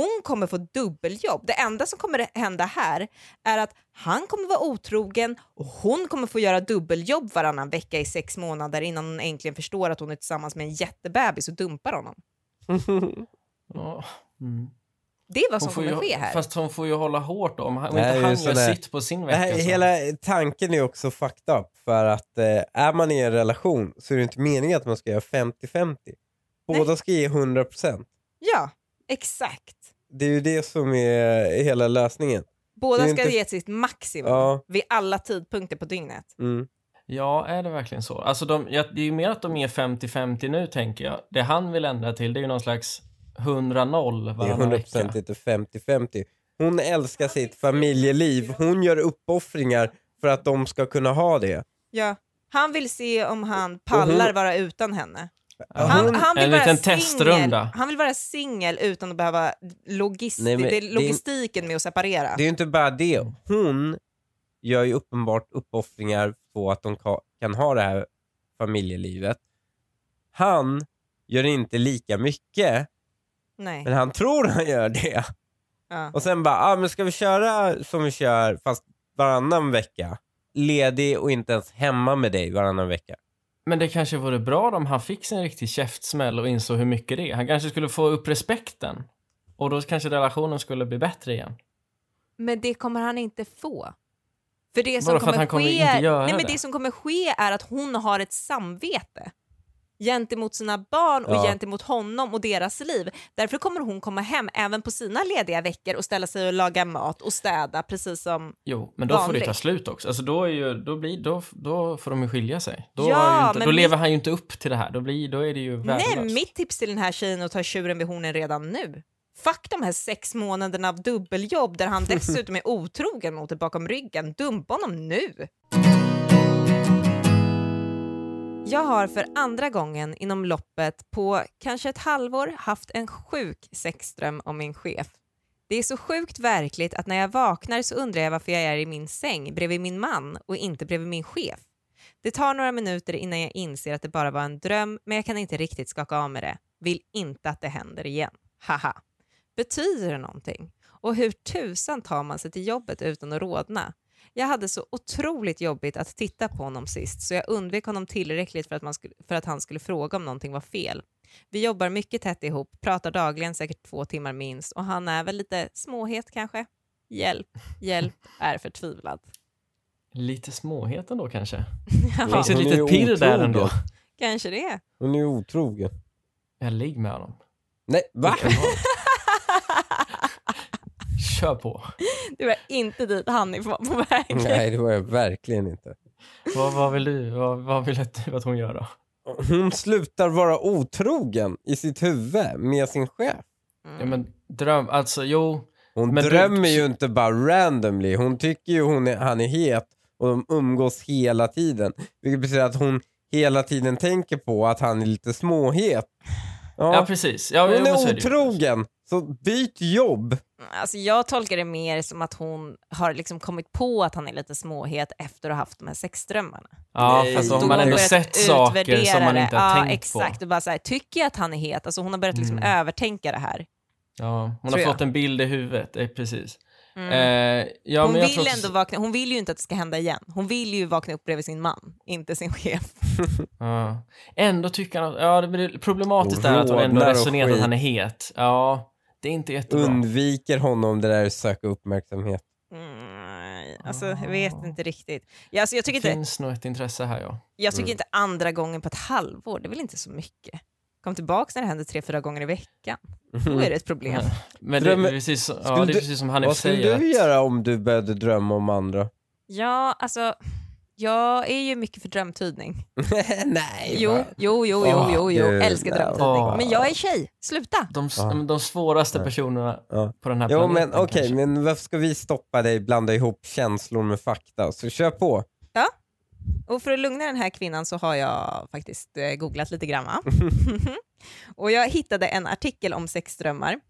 Speaker 1: Hon kommer få dubbeljobb. Det enda som kommer hända här är att han kommer vara otrogen och hon kommer få göra dubbeljobb varannan vecka i sex månader innan hon äntligen förstår att hon är tillsammans med en jättebebis och dumpar honom.
Speaker 2: Ja. Mm.
Speaker 1: Det är vad som
Speaker 2: får
Speaker 1: kommer
Speaker 2: ju,
Speaker 1: ske här.
Speaker 2: Fast hon får ju hålla hårt då, om, han, om
Speaker 3: Det här
Speaker 2: inte
Speaker 3: är
Speaker 2: han
Speaker 3: ju
Speaker 2: gör
Speaker 3: sån där-
Speaker 2: sitt på sin
Speaker 3: Det
Speaker 2: vecka.
Speaker 3: här,
Speaker 2: så.
Speaker 3: hela tanken är också fucked up. För att eh, är man i en relation så är det inte meningen att man ska göra 50-50. Båda ska ge 100%.
Speaker 1: Ja, exakt.
Speaker 3: Det är ju det som är hela lösningen.
Speaker 1: Båda
Speaker 3: Det är
Speaker 1: ska
Speaker 3: inte-
Speaker 1: ge sitt maximum
Speaker 3: Ja.
Speaker 1: vid alla tidpunkter på dygnet.
Speaker 3: Mm.
Speaker 2: Ja, är det verkligen så? Alltså de, ja, det är ju mer att de är 50-50 nu, tänker jag. Det han vill ändra till, det är ju någon slags 100-0
Speaker 3: Det är
Speaker 2: varannan
Speaker 3: 100%
Speaker 2: vecka.
Speaker 3: inte 50-50. Hon älskar sitt familjeliv. Hon gör uppoffringar för att de ska kunna ha det.
Speaker 1: Ja. Han vill se om han pallar vara utan henne.
Speaker 2: Ja.
Speaker 1: Han, han vill
Speaker 2: en
Speaker 1: vara
Speaker 2: liten
Speaker 1: singel.
Speaker 2: testrunda.
Speaker 1: Han vill vara singel utan att behöva logist-
Speaker 3: Nej, men
Speaker 1: det är
Speaker 3: det är-
Speaker 1: logistiken med att separera.
Speaker 3: Det är ju inte bara det. Hon gör ju uppenbart uppoffringar på att de ka- kan ha det här familjelivet. Han gör inte lika mycket,
Speaker 1: Nej.
Speaker 3: men han tror han gör det.
Speaker 1: Ja.
Speaker 3: Och sen bara, ah, men ska vi köra som vi kör fast varannan vecka? Ledig och inte ens hemma med dig varannan vecka.
Speaker 2: Men det kanske vore bra om han fick sin riktig käftsmäll och insåg hur mycket det är. Han kanske skulle få upp respekten. Och då kanske relationen skulle bli bättre igen.
Speaker 1: Men det kommer han inte få. För det som,
Speaker 2: Vadå, för att
Speaker 1: kommer
Speaker 2: han kommer
Speaker 1: ske,
Speaker 2: inte göra
Speaker 1: nej, men
Speaker 2: det?
Speaker 1: det som kommer ske är att hon har ett samvete gentemot sina barn och
Speaker 3: Ja.
Speaker 1: gentemot honom och deras liv. Därför kommer hon komma hem även på sina lediga veckor och ställa sig och laga mat och städa precis som...
Speaker 2: Jo, men då får det
Speaker 1: Vanligt.
Speaker 2: ta slut också. Alltså då, är ju, då, blir, då, då får de ju skilja sig. Då,
Speaker 1: Ja,
Speaker 2: har ju inte, då
Speaker 1: men mitt-
Speaker 2: lever han ju inte upp till det här. Då, blir, då är det ju värdelöst.
Speaker 1: Nej, mitt tips till den här tjejen är att ta tjuren vid hornen redan nu. Fuck de här sex månaderna av dubbeljobb där han dessutom är otrogen mot det bakom ryggen. Dumpa honom nu! Jag har för andra gången inom loppet på kanske ett halvår haft en sjuk sexdröm om min chef. Det är så sjukt verkligt att när jag vaknar så undrar jag varför jag är i min säng bredvid min man och inte bredvid min chef. Det tar några minuter innan jag inser att det bara var en dröm men jag kan inte riktigt skaka av mig det. Vill inte att det händer igen. Haha. Betyder det någonting? Och hur tusan tar man sig till jobbet utan att rodna? Jag hade så otroligt jobbigt att titta på honom sist så jag undvek honom tillräckligt för att, man skulle, för att han skulle fråga om någonting var fel. Vi jobbar mycket tätt ihop, pratar dagligen säkert två timmar minst och han är väl lite småhet kanske. Hjälp, hjälp är förtvivlad.
Speaker 2: Lite småhet ändå kanske? Det
Speaker 1: Ja,
Speaker 2: finns ett
Speaker 3: Hon är ju
Speaker 2: litet pirr där
Speaker 3: otrogen.
Speaker 2: ändå.
Speaker 1: kanske det.
Speaker 3: Hon är ju otrogen.
Speaker 2: Jag ligger med honom.
Speaker 3: Nej, va?
Speaker 2: Kör på.
Speaker 1: Det var inte dit Hanif var på väg.
Speaker 2: Mm.
Speaker 3: Nej, det var jag verkligen inte.
Speaker 2: Vad, vad vill du? Vad, vad vill du att hon gör då?
Speaker 3: Hon slutar vara otrogen i sitt huvud med sin chef.
Speaker 2: Ja, men dröm, alltså jo.
Speaker 3: Hon
Speaker 2: Men du-
Speaker 3: drömmer ju inte bara randomly. Hon tycker ju hon är, han är het och de umgås hela tiden. Vilket betyder att hon hela tiden tänker på att han är lite småhet.
Speaker 2: Ja,
Speaker 3: Ja,
Speaker 2: precis. Ja, jo,
Speaker 3: hon
Speaker 2: men så
Speaker 3: är
Speaker 2: är det ju.
Speaker 3: otrogen. Så byt jobb.
Speaker 1: Alltså jag tolkar det mer som att hon har liksom kommit på att han är lite småhet efter att ha haft de här sexdrömmarna.
Speaker 2: Ja,
Speaker 3: Nej,
Speaker 2: fast
Speaker 3: då
Speaker 2: har Alltså, man
Speaker 3: har
Speaker 2: ändå
Speaker 1: börjat
Speaker 2: sett saker
Speaker 1: utvärdera
Speaker 2: som man
Speaker 1: det.
Speaker 2: inte har
Speaker 1: ja,
Speaker 2: tänkt
Speaker 1: exakt.
Speaker 2: på.
Speaker 1: Och bara så här, tycker jag att han är het? Alltså hon har börjat liksom
Speaker 2: Mm.
Speaker 1: övertänka det här.
Speaker 2: Ja, hon har
Speaker 1: Tror jag.
Speaker 2: fått en bild i huvudet, eh, precis.
Speaker 1: Mm.
Speaker 2: Eh, ja,
Speaker 1: hon
Speaker 2: men jag
Speaker 1: vill
Speaker 2: tror också-
Speaker 1: ändå vakna, hon vill ju inte att det ska hända igen. Hon vill ju vakna upp bredvid sin man, inte sin chef.
Speaker 2: Ja. Ändå tycker han att, ja, det blir problematiskt
Speaker 3: Och
Speaker 2: är att hon ändå
Speaker 3: rodnar och
Speaker 2: resonerat att
Speaker 3: skit.
Speaker 2: han är het. Ja, det är inte jättebra.
Speaker 3: Undviker honom det där att söka uppmärksamhet.
Speaker 1: Mm, alltså jag
Speaker 2: Ah.
Speaker 1: vet inte riktigt. Ja, alltså, jag tycker,
Speaker 2: det
Speaker 1: inte,
Speaker 2: finns nog ett intresse här ja.
Speaker 1: jag tycker
Speaker 3: Mm.
Speaker 1: inte andra gången på ett halvår, det är väl inte så mycket. Kom tillbaka när det händer tre, fyra gånger i veckan. Då är det ett problem.
Speaker 2: Mm. Men det,
Speaker 3: Drömmer-
Speaker 2: är precis, så- ja,
Speaker 3: Skulle
Speaker 2: det är
Speaker 3: du-
Speaker 2: precis som Hanif
Speaker 3: Vad skulle
Speaker 2: säger.
Speaker 3: du
Speaker 2: att-
Speaker 3: göra om du började drömma om andra?
Speaker 1: Ja, alltså jag är ju mycket för drömtydning.
Speaker 3: Nej,
Speaker 1: Jo,
Speaker 3: va?
Speaker 1: jo, jo, jo,
Speaker 3: Åh,
Speaker 1: jo, jo.
Speaker 3: gud,
Speaker 1: älskar
Speaker 3: nej.
Speaker 1: drömtidning.
Speaker 2: Åh.
Speaker 1: Men jag är tjej, sluta!
Speaker 2: De, s-
Speaker 3: Ja.
Speaker 2: men de svåraste
Speaker 3: Ja.
Speaker 2: personerna
Speaker 3: Ja.
Speaker 2: på den här
Speaker 3: Jo,
Speaker 2: planeten
Speaker 3: men okej,
Speaker 2: kanske.
Speaker 3: men varför ska vi stoppa dig blanda ihop känslor med fakta? Så kör på.
Speaker 1: Och för att lugna den här kvinnan så har jag faktiskt eh, googlat lite grann. Va? och jag hittade en artikel om sexdrömmar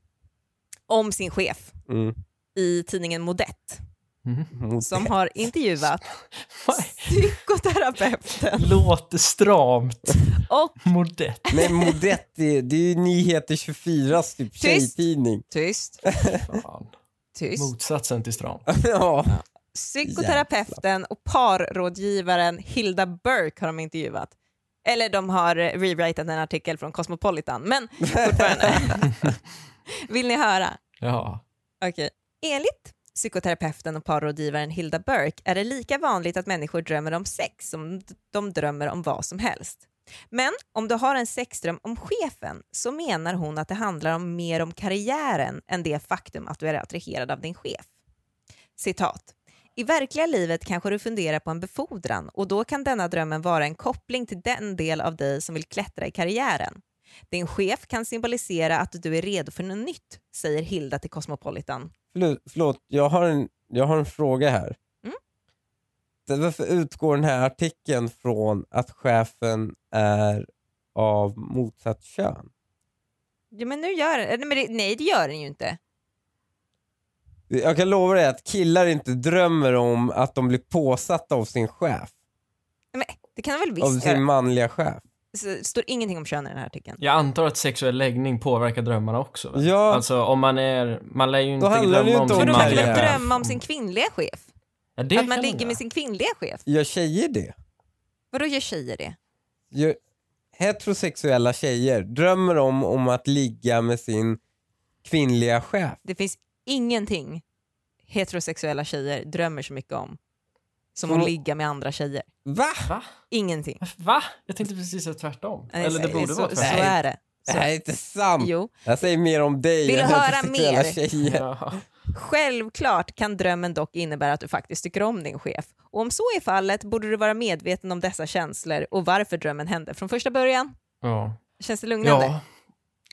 Speaker 1: om sin chef
Speaker 3: Mm.
Speaker 1: i tidningen Modett
Speaker 2: Mhm.
Speaker 3: Mot-
Speaker 1: som har intervjuat
Speaker 2: Vad-
Speaker 1: psykoterapeuten
Speaker 2: Låter stramt.
Speaker 1: och
Speaker 2: Modett.
Speaker 3: Nej, Modetti, det är ju Nyheter 24 s typ tjejtidning.
Speaker 1: tyst,
Speaker 2: Fan.
Speaker 1: tyst.
Speaker 2: Motsatsen till stramt.
Speaker 3: ja.
Speaker 1: Psykoterapeuten och parrådgivaren Hilda Burke har de intervjuat. Eller de har eh, rewritat en artikel från Cosmopolitan, men fortfarande. Vill ni höra?
Speaker 2: Ja.
Speaker 1: Okej. Enligt psykoterapeuten och parrådgivaren Hilda Burke är det lika vanligt att människor drömmer om sex som d- de drömmer om vad som helst. Men om du har en sexdröm om chefen så menar hon att det handlar om mer om karriären än det faktum att du är attraherad av din chef. Citat. I verkliga livet kanske du funderar på en befordran och då kan denna drömmen vara en koppling till den del av dig som vill klättra i karriären. Din chef kan symbolisera att du är redo för något nytt, säger Hilda till Cosmopolitan.
Speaker 3: Förlåt, förlåt jag, har en, jag har en fråga här.
Speaker 1: Mm.
Speaker 3: Det- Varför utgår den här artikeln från att chefen är av motsatt kön?
Speaker 1: Ja, men nu gör den... Nej, men det- Nej, det gör den ju inte.
Speaker 3: Jag kan lova dig att killar inte drömmer om att de blir påsatta av sin chef.
Speaker 1: Nej, Men det kan den väl
Speaker 3: Av
Speaker 1: visst
Speaker 3: sin
Speaker 1: göra.
Speaker 3: manliga chef.
Speaker 1: Så Det står ingenting om kön i den här artikeln.
Speaker 2: Jag antar att sexuell läggning påverkar drömmarna också. Va?
Speaker 3: Ja.
Speaker 2: Alltså om man är, man lär ju inte
Speaker 3: handlar det ju
Speaker 2: drömma om
Speaker 3: inte om
Speaker 1: För
Speaker 2: sin
Speaker 1: då
Speaker 3: det.
Speaker 1: kan
Speaker 2: manliga
Speaker 1: väl
Speaker 3: Maria.
Speaker 1: drömma om sin kvinnliga chef?
Speaker 2: Ja, det
Speaker 1: Att man
Speaker 2: kan
Speaker 1: ligger
Speaker 2: jag.
Speaker 1: med sin kvinnliga chef?
Speaker 3: Gör tjejer det?
Speaker 1: Vadå gör tjejer det?
Speaker 3: ju- heterosexuella tjejer drömmer om, om att ligga med sin kvinnliga chef.
Speaker 1: Det finns ingenting heterosexuella tjejer drömmer så mycket om som att
Speaker 3: Mm.
Speaker 1: ligga med andra tjejer.
Speaker 3: Va?
Speaker 2: Va?
Speaker 1: Ingenting.
Speaker 2: Va? Jag tänkte precis att tvärtom.
Speaker 1: Nej,
Speaker 2: Eller det borde
Speaker 1: så,
Speaker 2: vara
Speaker 1: så, så
Speaker 2: tvärtom.
Speaker 1: är det.
Speaker 3: Det här är inte sant.
Speaker 1: Jo.
Speaker 3: Jag säger mer om dig
Speaker 1: Vill
Speaker 3: än
Speaker 1: du höra
Speaker 3: heterosexuella
Speaker 1: mer?
Speaker 3: tjejer.
Speaker 2: Ja.
Speaker 1: Självklart kan drömmen dock innebära att du faktiskt tycker om din chef. Och om så är fallet borde du vara medveten om dessa känslor och varför drömmen hände från första början.
Speaker 2: Ja.
Speaker 1: Känns det lugnande?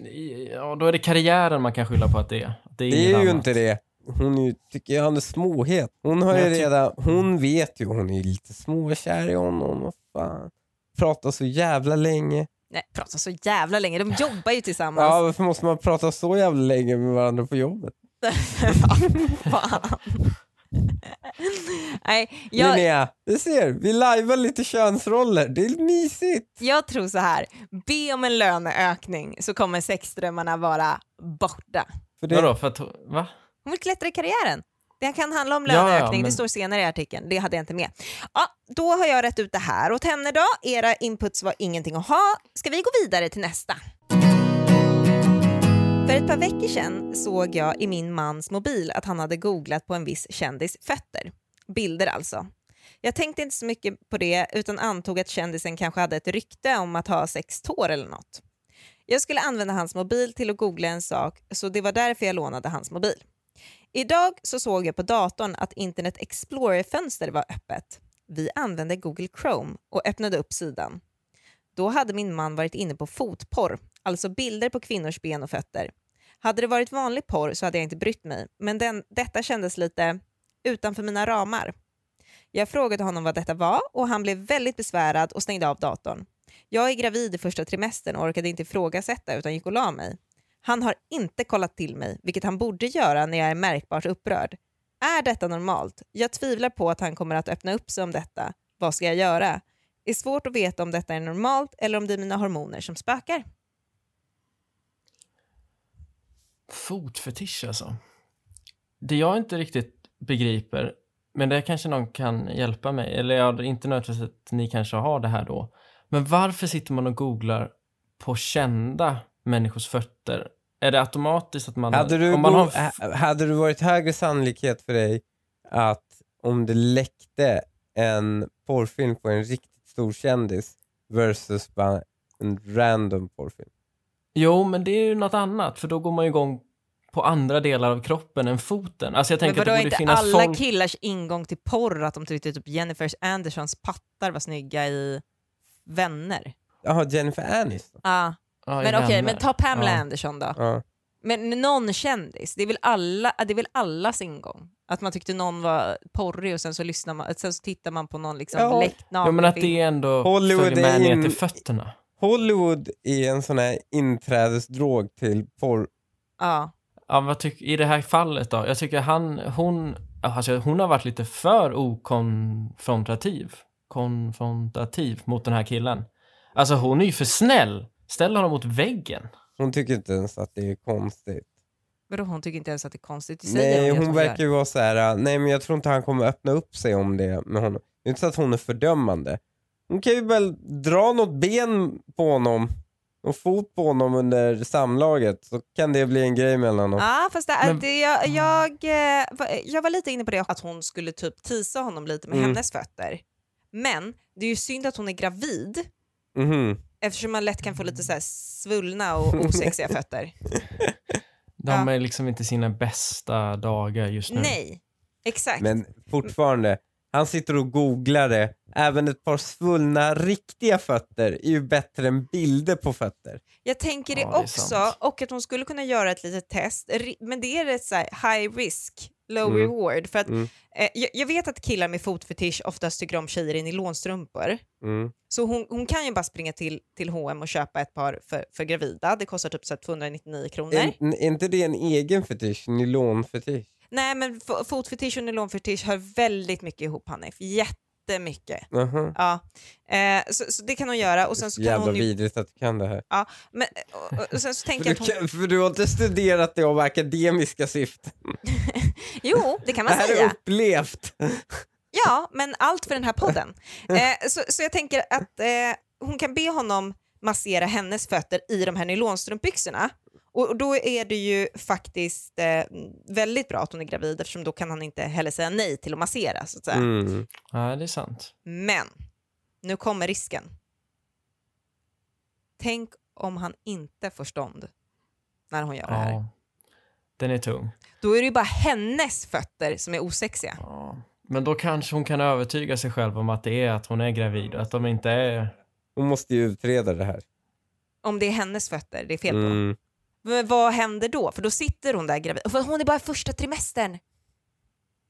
Speaker 2: Ja. ja, då är det karriären man kan skylla på att det är. Att
Speaker 3: Det
Speaker 2: ingen
Speaker 3: är ju
Speaker 2: annan.
Speaker 3: inte det. Hon är ju, tycker jag, han är småhet. Hon har
Speaker 2: Men
Speaker 3: ju
Speaker 2: jag ty-
Speaker 3: redan, hon vet ju, hon är lite småkär i honom. Vad fan. prata så jävla länge.
Speaker 1: Nej, prata så jävla länge. De jobbar ju tillsammans.
Speaker 3: Ja, varför måste man prata så jävla länge med varandra på jobbet?
Speaker 1: Fan. Nej, jag,
Speaker 3: Linnea, du ser, vi lajvar lite könsroller. Det är mysigt.
Speaker 1: jag tror så här. Be om en löneökning så kommer sexdrömmarna vara borta.
Speaker 3: För det,
Speaker 2: Vadå, för att... Va?
Speaker 1: Hon vill klättra i karriären. Det kan handla om
Speaker 2: Ja, ja,
Speaker 1: löneökning, det
Speaker 2: men-
Speaker 1: står senare i artikeln. Det hade jag inte med. Ja, då har jag rätt ut det här åt henne då. Era inputs var ingenting att ha. Ska vi gå vidare till nästa? För ett par veckor sedan såg jag i min mans mobil att han hade googlat på en viss kändis fötter. Bilder alltså. Jag tänkte inte så mycket på det utan antog att kändisen kanske hade ett rykte om att ha sex tår eller något. Jag skulle använda hans mobil till att googla en sak så det var därför jag lånade hans mobil. Idag så såg jag på datorn att Internet Explorer-fönster var öppet. Vi använde Google Chrome och öppnade upp sidan. Då hade min man varit inne på fotporr, alltså bilder på kvinnors ben och fötter. Hade det varit vanlig porr så hade jag inte brytt mig, men den, detta kändes lite utanför mina ramar. Jag frågade honom vad detta var och han blev väldigt besvärad och stängde av datorn. Jag är gravid i första trimestern och orkade inte ifrågasätta utan gick och la mig. Han har inte kollat till mig, vilket han borde göra när jag är märkbart upprörd. Är detta normalt? Jag tvivlar på att han kommer att öppna upp sig om detta. Vad ska jag göra? är svårt att veta om detta är normalt eller om det är mina hormoner som spökar.
Speaker 2: Fotfetisch alltså. Det jag inte riktigt begriper, men det kanske någon kan hjälpa mig, eller ja, inte nödvändigtvis att ni kanske har det här då, men varför sitter man och googlar på kända människors fötter? Är det automatiskt att man...
Speaker 3: hade, du
Speaker 2: om man
Speaker 3: go-
Speaker 2: har en f-
Speaker 3: ha- hade det varit högre sannolikhet för dig att om det läckte en porrfilm på en riktigt stor kändis versus bara en random porrfilm?
Speaker 2: Jo, men det är ju något annat, för då går man ju igång på andra delar av kroppen än foten. Alltså jag
Speaker 1: Men
Speaker 2: tänker att
Speaker 1: vadå, är
Speaker 2: det borde
Speaker 1: inte
Speaker 2: finnas
Speaker 1: alla
Speaker 2: folk...
Speaker 1: killars ingång till porr att de tyckte typ Jennifer Andersons pattar var snygga i Vänner?
Speaker 3: Jaha, Jennifer Aniston.
Speaker 1: Ja,
Speaker 2: Ja,
Speaker 1: men okej,
Speaker 2: vänner.
Speaker 1: men ta Pamela
Speaker 2: Ja.
Speaker 1: Anderson då.
Speaker 3: Ja.
Speaker 1: Men någon kändis, det är, väl alla, det är väl allas ingång? Att man tyckte någon var porrig och sen så, lyssnar man, sen så tittar man på någon liksom
Speaker 3: Ja.
Speaker 1: läckt
Speaker 2: Ja, men att
Speaker 1: nakenfilm.
Speaker 2: det är ändå
Speaker 3: Hollywood
Speaker 2: följer med
Speaker 3: är in-
Speaker 2: ner till fötterna.
Speaker 3: Hollywood är en sån här inträdesdrog till porr.
Speaker 1: Ja.
Speaker 2: Ja, vad tyck, I det här fallet då? Jag tycker han, hon, alltså hon har varit lite för okonfrontativ. Konfrontativ mot den här killen. Alltså hon är ju för snäll. Ställ honom mot väggen.
Speaker 3: Hon tycker inte ens att det är konstigt.
Speaker 1: Vadå, hon tycker inte ens att det är konstigt? Det säger
Speaker 3: Nej,
Speaker 1: ju att
Speaker 3: hon
Speaker 1: gör.
Speaker 3: verkar ju vara så här. äh, nej men jag tror inte han kommer öppna upp sig om det med honom. Det är inte så att hon är fördömande. Hon kan ju väl dra något ben på honom, och fot på honom under samlaget, så kan det bli en grej mellan dem.
Speaker 1: Ja, fast det,
Speaker 2: Men-
Speaker 1: det, jag, jag, eh, var- jag var lite inne på det, att hon skulle typ tisa honom lite med
Speaker 3: Mm.
Speaker 1: hennes fötter. Men det är ju synd att hon är gravid
Speaker 3: Mhm.
Speaker 1: eftersom man lätt kan få lite så här svullna och osexiga fötter.
Speaker 2: De
Speaker 1: Ja.
Speaker 2: är liksom inte sina bästa dagar just nu.
Speaker 1: Nej, exakt.
Speaker 3: Men fortfarande, han sitter och googlar det. Även ett par svullna riktiga fötter är ju bättre än bilder på fötter.
Speaker 1: Jag tänker det
Speaker 2: Ja, det är
Speaker 1: också,
Speaker 2: sant.
Speaker 1: och att hon skulle kunna göra ett litet test, Ri- men det är rätt så här high risk, low
Speaker 3: Mm.
Speaker 1: reward. För att,
Speaker 3: Mm.
Speaker 1: eh, jag, jag vet att killar med fotfetisch oftast tycker om tjejer i nylonstrumpor.
Speaker 3: Mm.
Speaker 1: Så hon, hon kan ju bara springa till, till H&M och köpa ett par för, för gravida. Det kostar typ så här 299 kronor.
Speaker 3: Är, är inte det en egen fetisch? Nylonfetisch?
Speaker 1: Nej men fo- fotfetisch och nylonfetisch hör väldigt mycket ihop Hanif. Jättemycket.
Speaker 3: Aha.
Speaker 1: Ja. Eh, så, så det kan hon göra och sen så kan
Speaker 3: Mhm. Jävla
Speaker 1: hon ju,
Speaker 3: vidrigt att du kan det här.
Speaker 1: men, och- och, och sen så tänker
Speaker 3: För du,
Speaker 1: jag att hon,
Speaker 3: kan, för du har inte studerat det av akademiska syften.
Speaker 1: Jo, det kan
Speaker 3: Det
Speaker 1: man
Speaker 3: här
Speaker 1: säga.
Speaker 3: är upplevt.
Speaker 1: Ja, men allt för den här podden. Eh, så, så jag tänker att eh, hon kan be honom massera hennes fötter i de här nylonstrumpbyxorna. Och, och då är det ju faktiskt eh, väldigt bra att hon är gravid eftersom då kan han inte heller säga nej till att massera. Så att säga.
Speaker 3: Mm.
Speaker 2: Ja, det är sant.
Speaker 1: Men nu kommer risken. Tänk om han inte får stånd när hon gör det här.
Speaker 2: Ja. Den är tung.
Speaker 1: Då är det ju bara hennes fötter som är osexiga.
Speaker 2: Ja. Men då kanske hon kan övertyga sig själv om att det är att hon är gravid och att de inte är...
Speaker 3: Hon måste ju utreda det här.
Speaker 1: Om det är hennes fötter det är fel på.
Speaker 3: Mm.
Speaker 1: Men vad händer då? För då sitter hon där gravid. För hon är bara i första trimestern.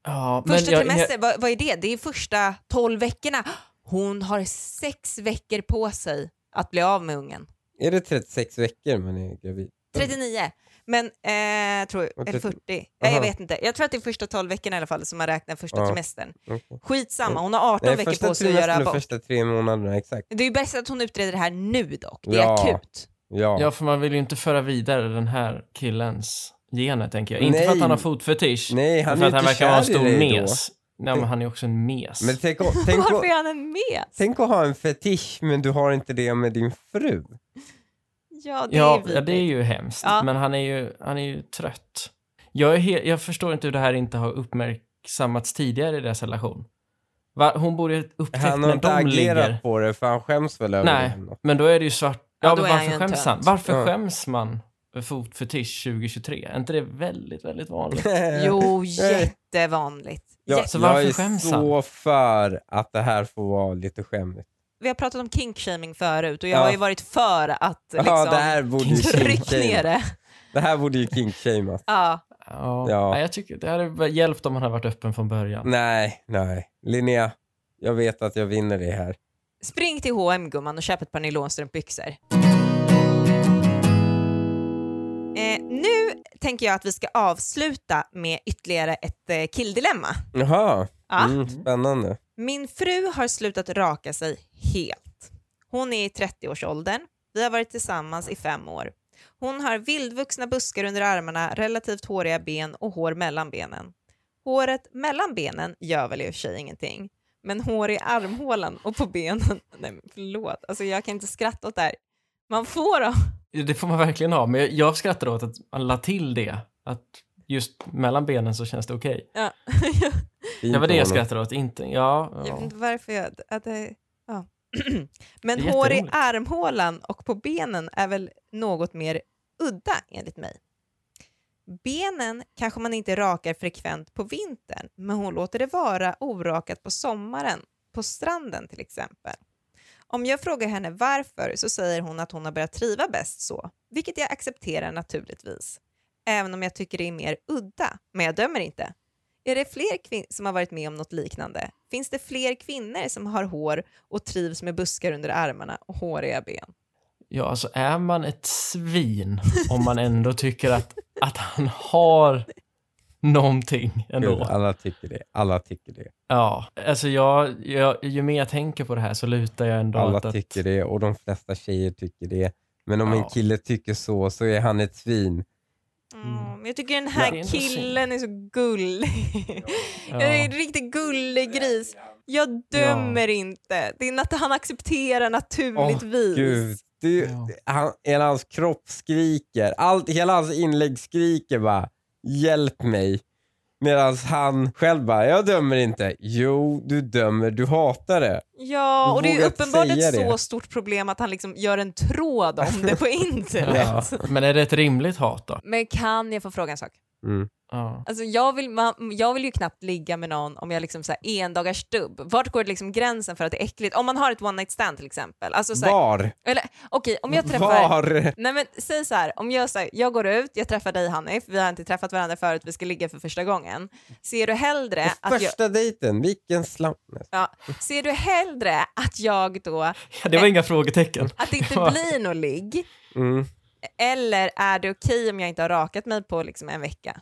Speaker 2: Ja, men
Speaker 1: Första
Speaker 2: jag- jag-
Speaker 1: trimestern, vad, vad är det? Det är första 12 veckorna. Hon har sex veckor på sig att bli av med ungen.
Speaker 3: Är det 36 veckor man är gravid?
Speaker 1: 39. Men eh, tror jag,
Speaker 3: Och
Speaker 1: eller
Speaker 3: 30.
Speaker 1: 40. Nej, jag
Speaker 3: Aha.
Speaker 1: vet inte. Jag tror att det är första 12 veckorna i alla fall som man räknar första
Speaker 3: Ja.
Speaker 1: trimestern.
Speaker 3: Okej.
Speaker 1: Skitsamma, hon har 18
Speaker 3: Nej,
Speaker 1: veckor
Speaker 3: första
Speaker 1: på sig att göra
Speaker 3: trimestern och
Speaker 1: abort.
Speaker 3: första tre månaderna, exakt.
Speaker 1: Det är ju bäst att hon utreder det här nu dock. Det är
Speaker 3: Ja.
Speaker 1: akut.
Speaker 3: Ja.
Speaker 2: Ja, för man vill ju inte föra vidare den här killens gener, tänker jag. Inte
Speaker 3: Nej.
Speaker 2: för att han har fotfetisch,
Speaker 3: Nej, han
Speaker 2: men för
Speaker 3: är
Speaker 2: att
Speaker 3: ju
Speaker 2: han
Speaker 3: inte
Speaker 2: verkar vara en
Speaker 3: kär i
Speaker 2: stor
Speaker 3: dig då.
Speaker 2: mes. Nej, men han är ju också en mes.
Speaker 3: Men tänk, att- tänk,
Speaker 1: Varför
Speaker 3: att-
Speaker 1: är han en mes?
Speaker 3: tänk att ha en fetisch men du har inte det med din fru.
Speaker 1: Ja, det är
Speaker 2: ja,
Speaker 1: vidrigt.
Speaker 2: ja, det är ju hemskt.
Speaker 1: Ja.
Speaker 2: Men han är ju, han är ju trött. Jag, är he- jag förstår inte hur det här inte har uppmärksammats tidigare i deras relation. Va? Hon borde ha upptäckt
Speaker 3: Han har
Speaker 2: när
Speaker 3: inte
Speaker 2: de
Speaker 3: agerat
Speaker 2: ligger.
Speaker 3: på det för han skäms väl över
Speaker 2: Nej.
Speaker 3: det. ändå.
Speaker 2: Men då är det ju svart.
Speaker 1: Ja,
Speaker 2: Ja,
Speaker 1: då
Speaker 2: men
Speaker 1: är han ju
Speaker 2: varför
Speaker 1: en
Speaker 2: skäms
Speaker 1: tönt.
Speaker 2: han? Varför
Speaker 3: Ja.
Speaker 2: skäms man för fotfetisch 2023? Är inte det väldigt, väldigt vanligt?
Speaker 3: Eh,
Speaker 1: Jo, jättevanligt.
Speaker 3: jag,
Speaker 1: Jätte-
Speaker 2: så varför
Speaker 3: jag är
Speaker 2: skäms han?
Speaker 3: så för att det här får vara lite skämmigt.
Speaker 1: Vi har pratat om kinkshaming förut och jag
Speaker 3: Ja.
Speaker 1: har ju varit för att liksom,
Speaker 3: ja, det här borde ju
Speaker 1: tryck ner
Speaker 3: kinkshamas.
Speaker 1: det.
Speaker 3: Det här borde ju kinkshamas.
Speaker 1: Ja.
Speaker 2: Ja.
Speaker 3: Ja.
Speaker 2: Nej, jag tycker det hade hjälpt om han hade varit öppen från början.
Speaker 3: Nej, nej. Linnea, jag vet att jag vinner det här.
Speaker 1: Spring till H&M gumman och köp ett par nylonstrumpbyxor. Eh, nu tänker jag att vi ska avsluta med ytterligare ett eh, killdilemma.
Speaker 3: Jaha,
Speaker 1: Ja.
Speaker 3: mm, spännande.
Speaker 1: Min fru har slutat raka sig helt. Hon är i 30-årsåldern. Vi har varit tillsammans i fem år. Hon har vildvuxna buskar under armarna, relativt håriga ben och hår mellan benen. Håret mellan benen gör väl i och för sig ingenting, men hår i armhålan och på benen... Nej, men förlåt. Alltså, jag kan inte skratta åt det här. Man får dem.
Speaker 2: Det får man verkligen ha, men jag- jag skrattar åt att man la till det. Att just mellan benen så känns det okej.
Speaker 1: Ja.
Speaker 3: Fint
Speaker 2: Det var det jag
Speaker 3: av honom.
Speaker 2: skrattade åt, inte... Ja,
Speaker 1: Jag vet
Speaker 2: ja.
Speaker 1: inte varför jag... Att det, ja. Men
Speaker 2: Det är
Speaker 1: hår i
Speaker 2: jätteroligt.
Speaker 1: armhålan och på benen är väl något mer udda enligt mig. Benen kanske man inte rakar frekvent på vintern, men hon låter det vara orakat på sommaren, på stranden till exempel. Om jag frågar henne varför så säger hon att hon har börjat triva bäst så, vilket jag accepterar naturligtvis. Även om jag tycker det är mer udda, men jag dömer inte. Är det fler kvin- som har varit med om något liknande? Finns det fler kvinnor som har hår och trivs med buskar under armarna och håriga ben?
Speaker 2: ja, alltså är man ett svin om man ändå tycker att, att han har någonting
Speaker 3: Gud,
Speaker 2: ändå?
Speaker 3: alla tycker det. Alla tycker det.
Speaker 2: Ja, alltså jag, jag, ju mer jag tänker på det här så lutar jag ändå åt
Speaker 3: Alla
Speaker 2: att...
Speaker 3: tycker det och de flesta tjejer tycker det. Men om en
Speaker 2: Ja.
Speaker 3: kille tycker så, så är han ett svin.
Speaker 2: Mm.
Speaker 1: Mm. Jag tycker den
Speaker 2: Ja, det är
Speaker 1: här
Speaker 2: ändå synd.
Speaker 1: killen är så gullig. Jag är
Speaker 2: Ja.
Speaker 1: en riktig gullig gris. Jag dömer inte. Det är att han accepterar naturligtvis.
Speaker 3: Gud. Du,
Speaker 2: Ja.
Speaker 3: han, hela hans kropp skriker. Allt, hela hans inlägg skriker bara “Hjälp mig”. Medan han själv bara “Jag dömer inte”. Jo, du dömer. Du hatar det.
Speaker 1: Ja,
Speaker 3: Du
Speaker 1: och det är ju
Speaker 3: vågar
Speaker 1: uppenbart
Speaker 3: säga
Speaker 1: ett
Speaker 3: det.
Speaker 1: så stort problem att han liksom gör en tråd om det på
Speaker 2: Ja.
Speaker 1: internet.
Speaker 2: Men är det ett rimligt hat då?
Speaker 1: Men kan jag få fråga en sak?
Speaker 3: Mm.
Speaker 2: Ja.
Speaker 1: Alltså jag, vill, man, jag vill ju knappt ligga med någon om jag liksom så här endagars dubb. Vart går liksom gränsen för att det är äckligt? Om man har ett one night stand till exempel. Alltså så här,
Speaker 3: Var?
Speaker 1: eller okej, om jag träffar...
Speaker 3: Var?
Speaker 1: Nej men säg så här, om jag, så här, jag går ut, jag träffar dig Hanif, vi har inte träffat varandra förut, vi ska ligga för första gången. Ser du hellre att jag,
Speaker 3: Första dejten, vilken slam... Nej,
Speaker 1: ja, ser du hellre att jag då,
Speaker 2: Det var inga frågetecken.
Speaker 1: att det inte
Speaker 2: Ja.
Speaker 1: blir någon ligg?
Speaker 3: Mm.
Speaker 1: Eller är det okej om jag inte har rakat mig på liksom en vecka?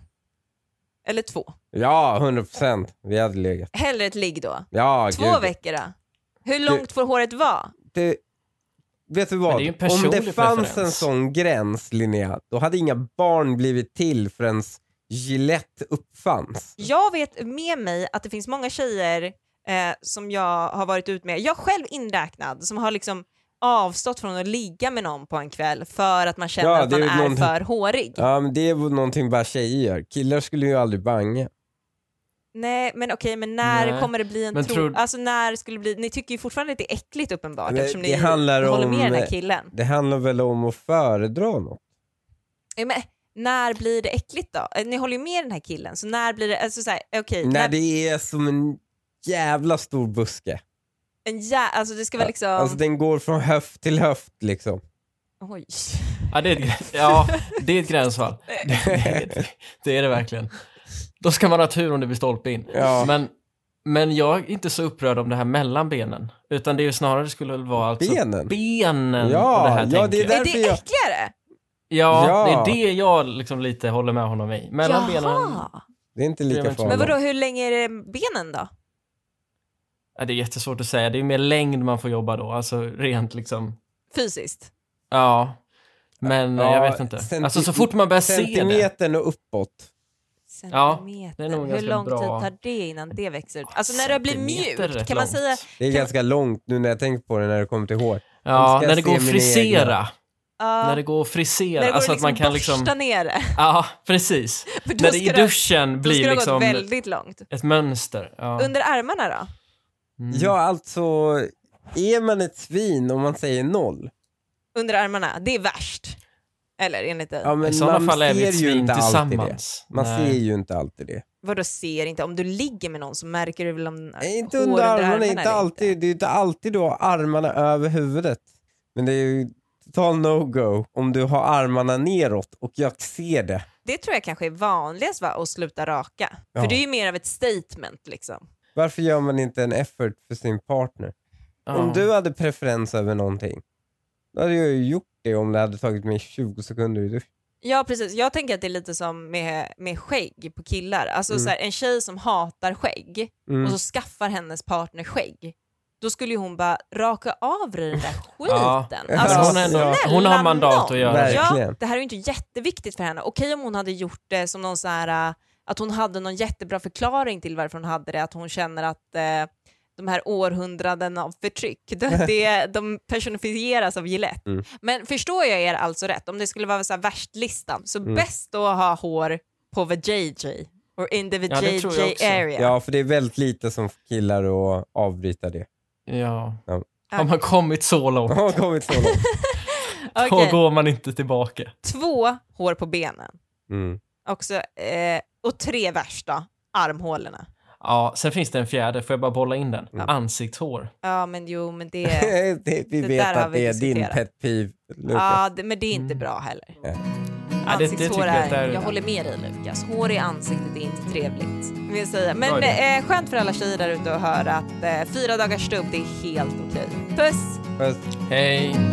Speaker 1: Eller två?
Speaker 3: Ja, 100 procent. Vi hade legat.
Speaker 1: Hellre ett ligg då?
Speaker 3: Ja,
Speaker 1: Två
Speaker 3: gud.
Speaker 1: veckor då? Hur långt får håret vara?
Speaker 3: Det, vet du
Speaker 2: Men
Speaker 3: vad?
Speaker 2: det är ju en
Speaker 3: Om det
Speaker 2: personlig
Speaker 3: fanns
Speaker 2: preferens.
Speaker 3: en sån gräns, Linnea, då hade inga barn blivit till förrän Gillette uppfanns.
Speaker 1: Jag vet med mig att det finns många tjejer eh, som jag har varit ut med, jag själv inräknad, som har liksom avstått från att ligga med någon på en kväll för att man känner
Speaker 3: Ja,
Speaker 1: att
Speaker 3: det
Speaker 1: man
Speaker 3: är
Speaker 1: är
Speaker 3: någon-
Speaker 1: för hårig.
Speaker 3: Ja, men det är väl någonting bara tjejer gör. Killar skulle ju aldrig banga.
Speaker 1: Nej men okej, men när
Speaker 2: Nej.
Speaker 1: kommer det bli en
Speaker 2: Men
Speaker 1: tro...
Speaker 2: tror-
Speaker 1: Alltså när skulle det bli... Ni tycker ju fortfarande att det är äckligt uppenbart
Speaker 3: Nej,
Speaker 1: eftersom
Speaker 3: det
Speaker 1: ni
Speaker 3: handlar
Speaker 1: håller
Speaker 3: om-
Speaker 1: med den här killen.
Speaker 3: Det handlar väl om att föredra något?
Speaker 1: Ja, men, när blir det äckligt då? Eh, Ni håller ju med den här killen, så när blir det... Alltså såhär, okej, när-
Speaker 3: När det är som en jävla stor buske.
Speaker 1: en jä... Alltså det ska vara liksom...
Speaker 3: Alltså den går från höft till höft liksom.
Speaker 1: Oj.
Speaker 2: Ja, det är ett, ja, det är ett gränsfall. Det, det, är det verkligen. Då ska man ha tur om det blir stolpe in.
Speaker 3: Ja.
Speaker 2: Men Men jag är inte så upprörd om det här mellan benen. Utan det är ju snarare skulle väl vara alltså
Speaker 3: Benen?
Speaker 2: benen
Speaker 3: Ja,
Speaker 2: och det här
Speaker 3: ja,
Speaker 2: tänket.
Speaker 3: det är där-
Speaker 1: Är det
Speaker 3: Därför jag-
Speaker 1: äckligare?
Speaker 2: Ja,
Speaker 3: Ja.
Speaker 2: det är det jag liksom lite håller med honom i. Mellan benen,
Speaker 1: Jaha.
Speaker 3: Det är inte
Speaker 2: Det är
Speaker 3: lika
Speaker 2: väl inte så.
Speaker 3: farligt.
Speaker 1: Men vadå, hur länge är det benen då?
Speaker 2: ja, det är jättesvårt att säga. Det är ju mer längd man får jobba då, alltså rent liksom,
Speaker 1: Fysiskt?
Speaker 2: ja. Men eh, jag
Speaker 3: Ja,
Speaker 2: vet inte.
Speaker 3: centi-
Speaker 2: Alltså så fort man börjar se det.
Speaker 3: Centimetern och uppåt.
Speaker 2: Ja,
Speaker 1: Centimeter.
Speaker 2: det är nog
Speaker 1: hur
Speaker 2: ganska
Speaker 1: lång
Speaker 2: bra.
Speaker 1: tid tar det innan det växer ut? Alltså när det blir
Speaker 2: Centimeter är
Speaker 1: mjukt,
Speaker 2: rätt
Speaker 1: kan man
Speaker 2: långt.
Speaker 1: säga...
Speaker 3: Det är
Speaker 1: Kan-
Speaker 3: ganska långt nu när jag tänker på det när det kommer till hår.
Speaker 2: Ja,
Speaker 3: ska
Speaker 2: när det går
Speaker 3: se
Speaker 2: att
Speaker 3: mina
Speaker 2: frisera.
Speaker 1: Ja,
Speaker 2: När det går att
Speaker 1: när
Speaker 2: frisera.
Speaker 1: det går
Speaker 2: alltså
Speaker 1: att
Speaker 2: att man kan
Speaker 1: liksom
Speaker 2: liksom,
Speaker 1: borsta ner det.
Speaker 2: ja precis.
Speaker 1: För då
Speaker 2: När det i
Speaker 1: ska det-
Speaker 2: duschen
Speaker 1: Då ska
Speaker 2: blir
Speaker 1: det ha
Speaker 2: liksom
Speaker 1: gått väldigt långt.
Speaker 2: ett mönster. Ja.
Speaker 1: Under armarna då?
Speaker 2: Mm.
Speaker 3: Ja, alltså är man ett svin om man säger noll?
Speaker 1: Under armarna, det är värst. Eller enligt dig?
Speaker 3: Ja, men
Speaker 2: I sådana
Speaker 3: man
Speaker 2: fall är vi
Speaker 3: ser
Speaker 2: ett
Speaker 3: ju
Speaker 2: svin
Speaker 3: inte alltid det.
Speaker 2: tillsammans.
Speaker 3: Man
Speaker 2: Nej.
Speaker 3: ser ju inte alltid det.
Speaker 1: Vadå ser inte? Om du ligger med någon så märker du väl om
Speaker 3: Nej, inte
Speaker 1: hår
Speaker 3: under armarna,
Speaker 1: eller
Speaker 3: inte alltid. Det är ju inte alltid du har armarna över huvudet. Men det är ju total no-go om du har armarna neråt och jag ser det.
Speaker 1: Det tror jag kanske är vanligast va, att sluta raka.
Speaker 3: Ja.
Speaker 1: För det är ju mer av ett statement liksom.
Speaker 3: Varför gör man inte en effort för sin partner?
Speaker 2: Ja.
Speaker 3: Om du hade preferens över någonting, då hade jag ju gjort det om det hade tagit mig 20 sekunder i duschen.
Speaker 1: Ja precis, jag tänker att det är lite som med, med skägg på killar. Alltså
Speaker 3: Mm.
Speaker 1: så här, en tjej som hatar skägg
Speaker 3: Mm.
Speaker 1: och så skaffar hennes partner skägg. Då skulle ju hon bara raka av dig den där
Speaker 2: Ja.
Speaker 1: skiten.
Speaker 3: Men
Speaker 1: Alltså,
Speaker 2: hon är ändå-
Speaker 1: snälla
Speaker 2: hon har mandat
Speaker 1: nån.
Speaker 2: att göra
Speaker 3: det.
Speaker 1: ja,
Speaker 3: Verkligen.
Speaker 1: Det här är ju inte jätteviktigt för henne. Okej om hon hade gjort det som någon så här, äh, att hon hade någon jättebra förklaring till varför hon hade det, att hon känner att eh, de här århundraden av förtryck, det, det, de personifieras av Gillette.
Speaker 3: Mm.
Speaker 1: Men förstår jag er alltså rätt, om det skulle vara så här värstlistan, så
Speaker 3: Mm.
Speaker 1: bäst då att ha hår på the JJ, or in the
Speaker 2: Ja, det tror jag
Speaker 1: JJ
Speaker 2: också.
Speaker 1: area.
Speaker 3: Ja, för det är väldigt lite som får killar att avbryta det.
Speaker 2: Ja.
Speaker 3: Ja.
Speaker 2: Har man kommit så långt,
Speaker 3: Har kommit så långt.
Speaker 1: Okej.
Speaker 2: då går man inte tillbaka.
Speaker 1: Två hår på benen,
Speaker 3: Mm.
Speaker 1: också, eh, och tre värsta, armhålorna.
Speaker 2: Ja, sen finns det en fjärde, får jag bara bolla in den?
Speaker 3: Ja.
Speaker 2: Ansiktshår.
Speaker 1: Ja men jo men det...
Speaker 3: det,
Speaker 1: Det
Speaker 3: vi
Speaker 1: där
Speaker 3: vet
Speaker 1: har
Speaker 3: att
Speaker 1: vi
Speaker 3: det är din
Speaker 1: diskuterat.
Speaker 3: pet peeve, Lukas.
Speaker 1: Ja, det, men det är inte
Speaker 2: Mm.
Speaker 1: bra heller.
Speaker 2: Ja, det, det
Speaker 1: Ansiktshår
Speaker 2: tycker jag,
Speaker 1: är,
Speaker 2: där,
Speaker 1: jag håller med dig Lukas, hår i ansiktet är inte trevligt. Vill jag säga.
Speaker 2: Bra
Speaker 1: Men
Speaker 2: idé.
Speaker 1: eh, skönt för alla tjejer där ute att höra att eh, fyra dagars stubb, det är helt okej. Puss!
Speaker 3: Puss.
Speaker 2: Hej.